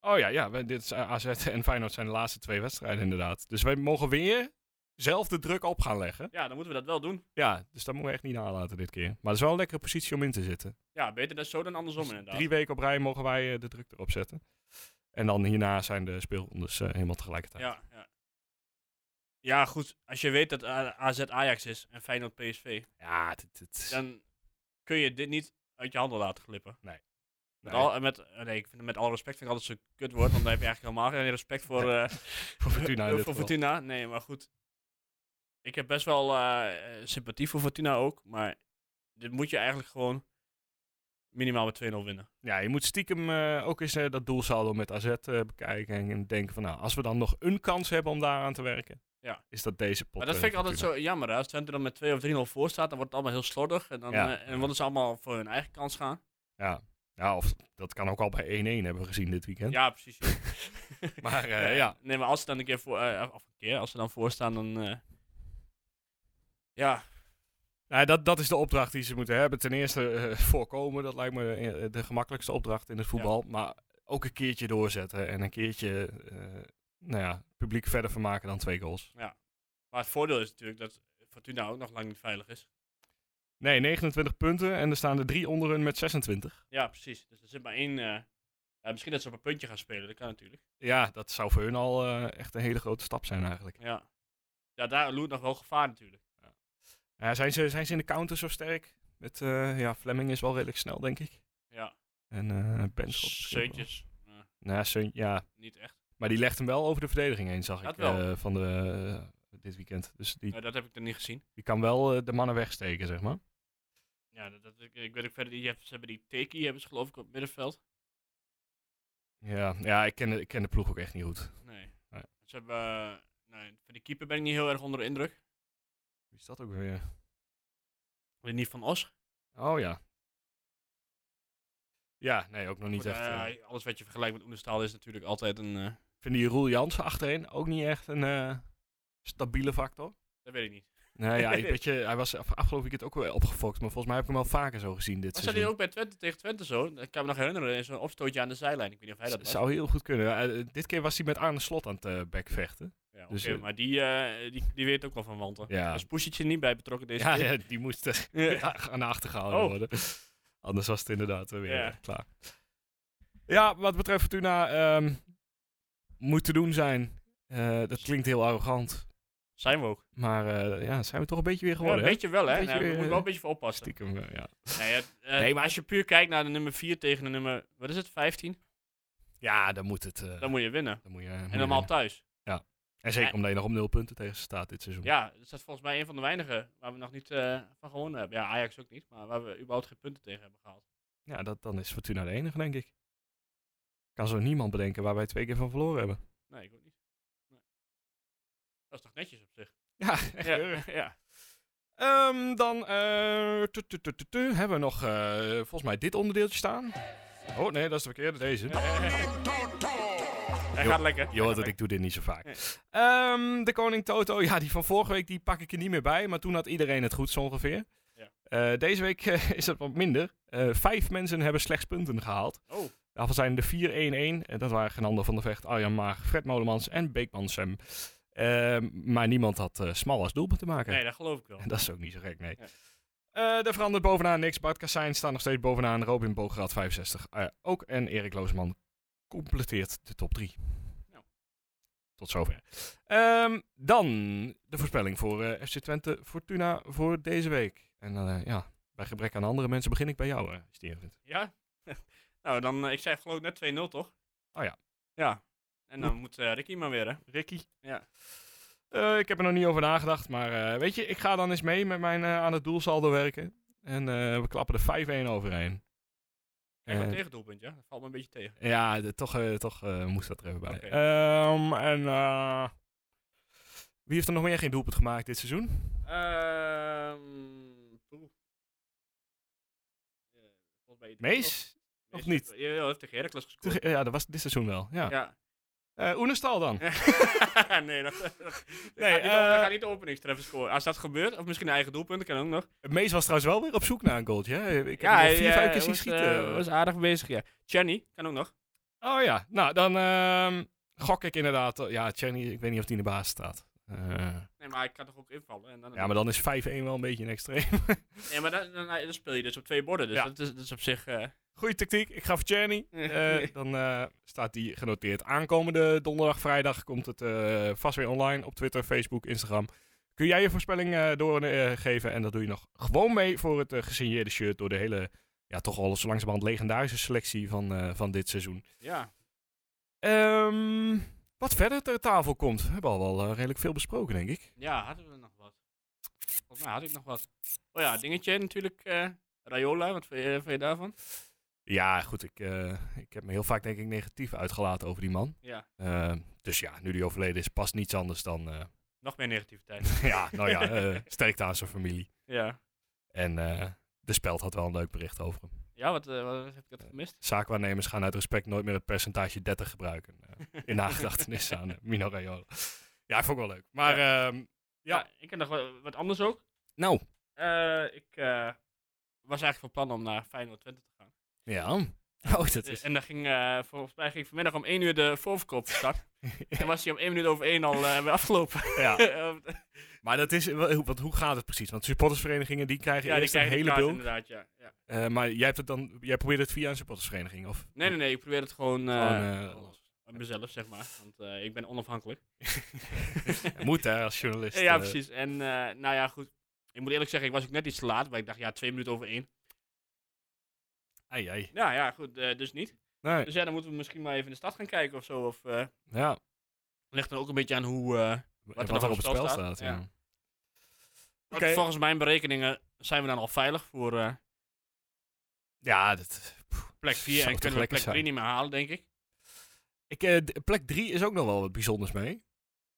Oh ja, ja we- dit is, eh, AZ en Feyenoord zijn de laatste twee wedstrijden inderdaad. Dus wij mogen weer zelf de druk op gaan leggen.
Ja, dan moeten we dat wel doen.
Ja, dus dat moeten we echt niet nalaten dit keer. Maar het is wel een lekkere positie om in te zitten.
Ja, beter dat zo dan andersom inderdaad.
Dus Drie weken op rij mogen wij eh, de druk erop zetten. En dan hierna zijn de speelrondes eh, helemaal tegelijkertijd.
Ja, ja. ja, goed. Als je weet dat A- AZ Ajax is en Feyenoord PSV,
Ja, dit, dit-
dan kun je dit niet uit je handen laten glippen.
nee.
Met, al, en met, eh, nee, ik vind, met alle respect vind ik altijd zo'n kutwoord, want dan heb je eigenlijk helemaal geen respect voor, eh,
voor Fortuna in nou dit
voor
geval.
Fortuna. Nee, maar goed. Ik heb best wel eh, eh, sympathie voor Fortuna ook, maar dit moet je eigenlijk gewoon minimaal met 2-0 winnen.
Ja, je moet stiekem eh, ook eens eh, dat doelsaldo met AZ eh, bekijken. En, en denken van, nou, als we dan nog een kans hebben om daaraan te werken,
Ja.
is dat deze pot.
Maar dat
eh,
vind ik altijd
Fortuna.
zo jammer. hè. Als Twente dan met 2 of 3-0 voor staat, dan wordt het allemaal heel slordig. En dan,
Ja.
eh, en dan willen ze allemaal voor hun eigen kans gaan.
Ja. ja, of dat kan ook al bij 1-1 hebben we gezien dit weekend.
Ja, precies. ja.
Maar eh, ja,
Nee, maar als ze dan een keer voor, eh, of een keer, als ze dan voor staan, dan. eh, ja,
Nou, dat, dat is de opdracht die ze moeten hebben. Ten eerste eh, voorkomen, dat lijkt me eh, de gemakkelijkste opdracht in het voetbal. Maar ook een keertje doorzetten en een keertje eh, nou ja, het publiek verder vermaken dan twee goals.
maar het voordeel is natuurlijk dat Fortuna ook nog lang niet veilig is.
Nee, 29 punten en er staan er drie onder hun met 26.
Ja, precies. Dus er zit maar één. eh, ja, misschien dat ze op een puntje gaan spelen, dat kan natuurlijk.
Ja, dat zou voor hun al eh, echt een hele grote stap zijn eigenlijk.
Ja, ja daar loert nog wel gevaar natuurlijk.
Ja, zijn, ze, zijn ze in de counter zo sterk? Met, eh, ja, Fleming is wel redelijk snel, denk ik.
Ja,
En eh Benschop. misschien ook wel.
zeutjes. eh,
Nou, Seunt- ja,
niet echt.
maar die legt hem wel over de verdediging heen, zag
Dat
ik
wel.
eh, van de, eh, dit weekend. Dus die,
Eh, dat heb ik er niet gezien.
Je kan wel eh, de mannen wegsteken, zeg maar.
Ja, dat, dat- ik, ik weet ook verder. Die, hebben- ze hebben die Teki, hebben ze geloof ik op het middenveld.
Ja, ja ik, ken de, ik ken de ploeg ook echt niet goed.
Nee.
Nee.
Ze hebben. eh, nee, van die keeper ben ik niet heel erg onder de indruk.
Wie is dat ook weer?
Alleen niet van Os.
Oh ja. Ja, nee, ook nog niet
Goed,
echt.
eh,
eh.
alles wat je vergelijkt met Oenestaal is natuurlijk altijd een... eh,
Vinden die Roel Jansen achterin ook niet echt een eh, stabiele factor?
dat weet ik niet.
Nee, Nou ja, ik weet je, hij was af- afgelopen weekend ook wel opgefokt. Maar volgens mij heb ik hem wel vaker zo gezien dit
Was dat
seizoen.
niet ook bij Twente tegen Twente zo? Ik kan me nog herinneren, in zo'n opstootje aan de zijlijn. Ik weet niet of hij dat
Z-
was.
Zou heel goed kunnen. Ja, eh, dit keer was hij met Arne Slot aan het eh, bekvechten.
Ja,
Dus,
oké,
eh,
maar die, eh, die, die weet ook wel van wanten.
Ja.
Is Poesietje niet bij betrokken deze
Ja,
keer?
ja, die moest eh,
Ja.
ja, aan de achter gehouden
Oh.
worden. Anders was het inderdaad weer
Ja.
eh, klaar. Ja, wat betreft Fortuna, ehm, moet te doen zijn. Eh, dat klinkt heel arrogant.
Zijn we ook.
Maar eh, ja, zijn we toch een beetje weer
Ja,
geworden,
een beetje wel, hè?
Beetje
Nou, we
weer,
moeten
eh,
wel een beetje voor
hè?
oppassen.
Stiekem, eh, ja.
Nee, het, eh,
Nee, maar-
als je puur kijkt naar de nummer 4 tegen de nummer, wat is het, 15?
Ja, dan moet het... eh,
Dan moet je winnen.
dan moet je, moet je
En normaal
winnen.
thuis.
en zeker
Ja.
omdat je nog op nul punten tegen ze staat dit seizoen.
Ja, dat is volgens mij een van de weinige waar we nog niet eh, van gewonnen hebben. Ja, Ajax ook niet, maar waar we überhaupt geen punten tegen hebben gehaald.
Ja, dat, dan is Fortuna de enige, denk ik. Kan zo niemand bedenken waar wij twee keer van verloren hebben.
Nee, ik ook niet. Nee. Dat is toch netjes op zich?
Ja,
Ja, ja.
Ehm, dan eh, tu- tu- tu- tu- tu, hebben we nog eh, volgens mij dit onderdeeltje staan. Oh nee, dat is de verkeerde, deze.
Hij
Jo-
gaat lekker.
Je hoort dat ik doe dit niet zo vaak. Ehm, de Koning Toto, ja, die van vorige week die pak ik er niet meer bij. Maar toen had iedereen het goed zo ongeveer.
Ja.
Eh, deze week eh, is dat wat minder. Eh, vijf mensen hebben slechts punten gehaald.
Oh,
Daarvan zijn de 4-1-1. En dat waren Genander van der Vecht, Arjan Maag, Fred Molemans en Beekman Sam. Ehm, maar niemand had eh, smal als doelpunt te maken.
nee, dat geloof ik wel.
En dat is ook niet zo gek, nee.
Ja.
Eh, er verandert bovenaan niks. Bart Kassijn staat nog steeds bovenaan. Robin Bogerad 65 eh, ook. En Erik Loosman completeert de top 3.
Nou.
Tot zover. Ehm, dan de voorspelling voor eh, FC Twente Fortuna voor deze week. En eh, ja, bij gebrek aan andere mensen begin ik bij jou, eh Steven.
Ja? nou, dan, eh, ik zei geloof ik net 2-0, toch?
Oh ja.
Ja. En dan moet eh, Ricky maar weer, hè?
Ricky?
Ja.
Eh, ik heb er nog niet over nagedacht, maar eh, weet je, ik ga dan eens mee met mijn eh, aan het doelsaldo werken. En eh, we klappen er 5-1 overheen.
Kijk,
Eh,
een tegendoelpunt, ja? Dat valt me een beetje tegen.
Ja, de- toch, eh, toch eh, moest dat er even bij.
Oké.
Ehm, en eh, wie heeft er nog meer geen doelpunt gemaakt dit seizoen?
Ehm. poeh. Eh, volgens mij-
Mees?
Mees
Of niet?
heeft- Jawel, hij heeft tegen Heracles gescoord.
Te- Ja, dat was dit seizoen wel. Ja.
Ja.
Eh, Oenestal dan?
nee, dat, dat, dat
Nee,
gaat niet,
eh,
dat gaat niet de openingstreffer scoren. Als dat gebeurt, of misschien een eigen doelpunt, kan ook nog. eh,
Mees was trouwens wel weer op zoek naar een goaltje. Hè? Ik heb hem al vier, vijf keer zien schieten.
was eh, aardig bezig, ja. Chenny, kan ook nog.
Oh ja, nou dan ehm, gok ik inderdaad. eh, Ja, Chenny, ik weet niet of die in de baas staat. Eh,
Nee, maar ik kan toch ook invallen. En dan,
ja, maar dan is 5-1 wel een beetje een extreem.
nee, maar dan, dan, dan speel je dus op twee borden, dus
Ja.
dat, is, dat is op zich... eh,
Goeie tactiek, ik ga voor Chenny. Eh, dan eh, staat die genoteerd. Aankomende donderdag, vrijdag komt het eh, vast weer online op Twitter, Facebook, Instagram. Kun jij je voorspelling eh, doorgeven en dat doe je nog gewoon mee voor het eh, gesigneerde shirt door de hele, ja toch al zo langzamerhand legendarische selectie van, eh, van dit seizoen.
ja.
Ehm, wat verder ter tafel komt, we hebben al wel eh, redelijk veel besproken denk ik.
ja, hadden we nog wat? Volgens mij had ik nog wat. Oh ja, dingetje natuurlijk. eh Rayola, wat vind je, vind je daarvan?
Ja goed, ik, eh, ik heb me heel vaak denk ik negatief uitgelaten over die man.
Ja,
Eh, dus ja, nu die overleden is, past niets anders dan... eh,
nog meer negativiteit.
Ja, nou ja, eh sterkte aan zijn familie.
ja.
En eh, de speld had wel een leuk bericht over hem.
Ja, wat, eh, wat heb ik dat gemist?
Zaakwaarnemers gaan uit respect nooit meer het percentage 30 gebruiken. eh, in nagedachtenis aan eh, Mino Raiola. Ja, vond ik wel leuk. Maar ehm, Ja.
Ja, ik heb nog wa- wat anders ook.
nou,
Eh, ik eh, was eigenlijk van plan om naar Feyenoord Twente te gaan.
ja. Oh, dat is...
En dan ging, eh, volgens mij ging vanmiddag om 1 uur de voorverkoop van start. en was hij om 1 minuut over 1 al eh, weer afgelopen.
Ja.
Eh,
Maar dat is, wel- hoe- want hoe gaat het precies? Want supportersverenigingen die krijgen
ja, die
eerst een
krijgen die
hele
kaart
bult.
inderdaad, ja. ja.
Eh, maar jij, hebt het dan, jij probeert het via een supportersvereniging? Of?
Nee, nee, nee, ik probeer het gewoon, eh,
Gewoon, eh,
los. aan mezelf, zeg maar. Want eh, ik ben onafhankelijk.
Moet hè, als journalist.
ja,
eh,
precies. En eh, nou ja, goed. Ik moet eerlijk zeggen, ik was ook net iets te laat, maar ik dacht, ja, 2 minuten over 1.
Ai, ai.
Nou ja, goed, eh, dus niet.
Nee,
Dus ja, dan moeten we misschien maar even in de stad gaan kijken of zo. Of, eh,
ja.
ligt dan ook een beetje aan hoe... eh,
Wat,
nog
er op het spel staat, ja.
ja. Want
Oké.
volgens mijn berekeningen zijn we dan al veilig voor eh,
Ja, dat...
plek 4
Zou
en
toch
kunnen we
lekker
plek 3
zijn.
niet meer halen, denk ik.
Ik, eh, d- plek 3 is ook nog wel wat bijzonders mee.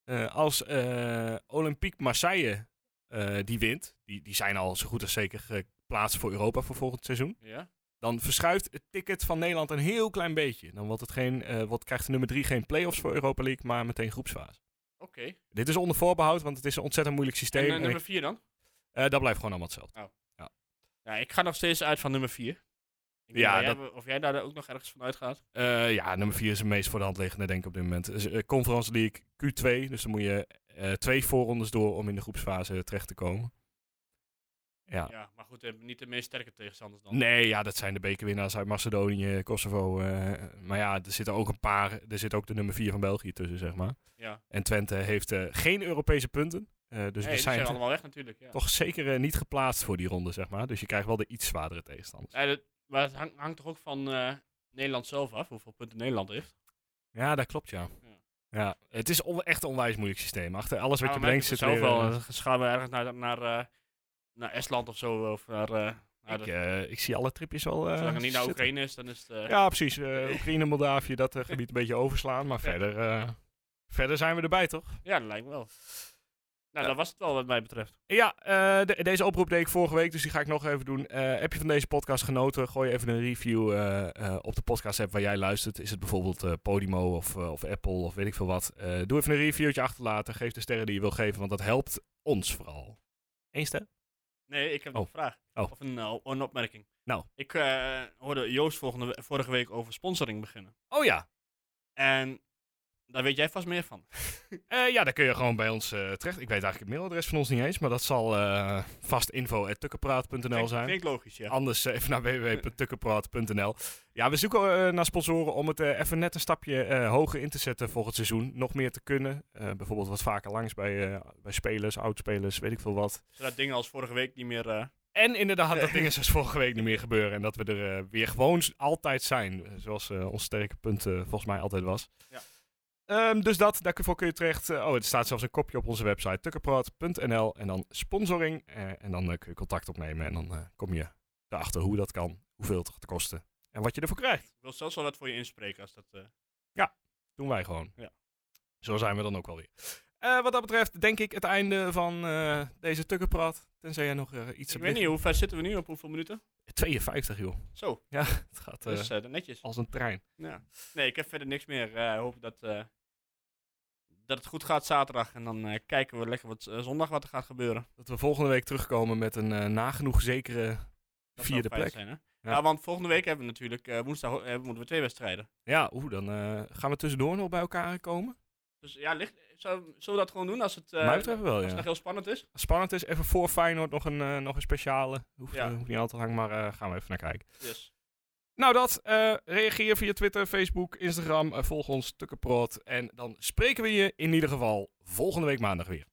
Eh, als eh, Olympique Marseille eh, die wint, die, die zijn al zo goed als zeker geplaatst voor Europa voor volgend seizoen.
Ja.
Dan verschuift het ticket van Nederland een heel klein beetje. Dan wordt het geen, eh, wordt, krijgt de nummer 3 geen play-offs voor Europa League, maar meteen groepsfase.
Oké.
Dit is onder voorbehoud, want het is een ontzettend moeilijk
En
systeem.
eh,
en
nummer
ik-
4 dan?
eh, dat blijft gewoon allemaal hetzelfde.
Ja, ik ga nog steeds uit van nummer 4. Ik denk
Ja,
dat jij-
dat-
Of jij daar ook nog ergens van uitgaat.
Eh, ja, nummer 4 is de meest voor de hand liggende, denk ik, op dit moment. Dus, eh, Conference League Q2, dus dan moet je eh, twee voorrondes door om in de groepsfase terecht te komen. Ja.
Ja, maar goed, eh, niet de meest sterke tegenstanders dan.
Nee, ja, dat zijn de bekerwinnaars uit Macedonië, Kosovo. eh, maar ja, er zitten ook een paar, er zit ook de nummer 4 van België tussen, zeg maar.
Ja.
En Twente heeft eh, geen Europese punten, eh, dus
Dus
we zijn
allemaal weg natuurlijk. Ja.
toch zeker eh, niet geplaatst voor die ronde, zeg maar. Dus je krijgt wel de iets zwaardere tegenstanders.
Ja, dat- maar het hang- hangt toch ook van eh, Nederland zelf af, hoeveel punten Nederland heeft.
Ja, dat klopt, ja.
Ja.
Ja, het is on- echt een onwijs moeilijk systeem. Achter alles wat
Ja,
je
maar merk
bedenkt
ik
zit
zelf
weer...
wel.
eh,
Dan gaan we ergens naar, naar, eh, naar Estland of zo. Of naar, eh, naar
ik,
de-
eh, ik zie alle tripjes al. eh,
zolang het niet naar
zitten.
Oekraïne is, dan is het... eh,
Ja, precies. Eh, Oekraïne, Moldavië, dat eh, gebied een beetje overslaan. Maar verder, eh, verder zijn we erbij, toch?
Ja, dat lijkt me wel. Nou, dat was het wel wat mij betreft.
Ja, eh, de- deze oproep deed ik vorige week, dus die ga ik nog even doen. Eh, heb je van deze podcast genoten? Gooi even een review eh, eh, op de podcast-app waar jij luistert. Is het bijvoorbeeld eh, Podimo of, eh, of Apple of weet ik veel wat. Eh, doe even een reviewtje achterlaten. Geef de sterren die je wil geven, want dat helpt ons vooral. Eén ster?
Nee, ik heb
Oh.
nog een vraag.
Oh.
Of een, eh, een opmerking.
Nou.
Ik eh, hoorde Joost volgende, we- vorige week over sponsoring beginnen.
Oh ja.
En daar weet jij vast meer van.
Eh, ja, dan kun je gewoon bij ons eh, terecht. Ik weet eigenlijk het mailadres van ons niet eens, maar dat zal eh, vast info.tukkenpraat.nl
Klinkt-
zijn.
Klinkt logisch, ja.
Anders eh, even naar www.tukkenpraat.nl. Ja, we zoeken eh, naar sponsoren om het eh, even net een stapje eh, hoger in te zetten volgend seizoen. Nog meer te kunnen. Eh, bijvoorbeeld wat vaker langs bij, eh, bij spelers, oudspelers, weet ik veel wat.
Zodat dingen als vorige week niet meer... eh,
En inderdaad dat dingen zoals vorige week niet meer gebeuren. En dat we er eh, weer gewoon s- altijd zijn. Zoals eh, ons sterke punt eh, volgens mij altijd was.
Ja.
Ehm, dus dat, daarvoor kun je terecht. Eh, oh, er staat zelfs een kopje op onze website tukkenpraat.nl en dan sponsoring. Eh, en dan eh, kun je contact opnemen en dan eh, kom je erachter hoe dat kan, hoeveel het gaat kosten en wat je ervoor krijgt.
ik wil zelfs wel wat voor je inspreken als dat... eh,
Doen wij gewoon.
Ja.
Zo zijn we dan ook wel weer. Eh, wat dat betreft denk ik het einde van eh, deze tukkenpraat. Tenzij jij nog eh, iets
Ik
hebt
weet niet,
liggen.
hoe ver zitten we nu? Op hoeveel minuten?
52 joh.
Zo,
Het gaat
dat
eh,
is eh, netjes.
als een trein.
Ja. Nee, ik heb verder niks meer. Eh, Ik hoop dat, eh, dat het goed gaat zaterdag. En dan eh, kijken we lekker wat, eh, zondag wat er gaat gebeuren.
Dat we volgende week terugkomen met een eh, nagenoeg zekere
Dat zou
vierde
fijn
plek.
Zijn, hè? Ja.
Ja.
want volgende week hebben we natuurlijk eh, woensdag eh, moeten we twee wedstrijden.
Ja, oeh, dan eh, gaan we tussendoor nog bij elkaar komen.
Dus ja, ligt, zou- zullen we dat gewoon doen als het, eh,
Mij betreft wel,
als het
ja.
nog heel spannend is?
Spannend is, even voor Feyenoord nog een, eh, nog een speciale. Hoeft,
Ja.
eh, hoeft niet al te lang, maar eh, gaan we even naar kijken.
Yes.
Nou dat, eh, reageer via Twitter, Facebook, Instagram. eh, volg ons, Tukkenprot. En dan spreken we je in ieder geval volgende week maandag weer.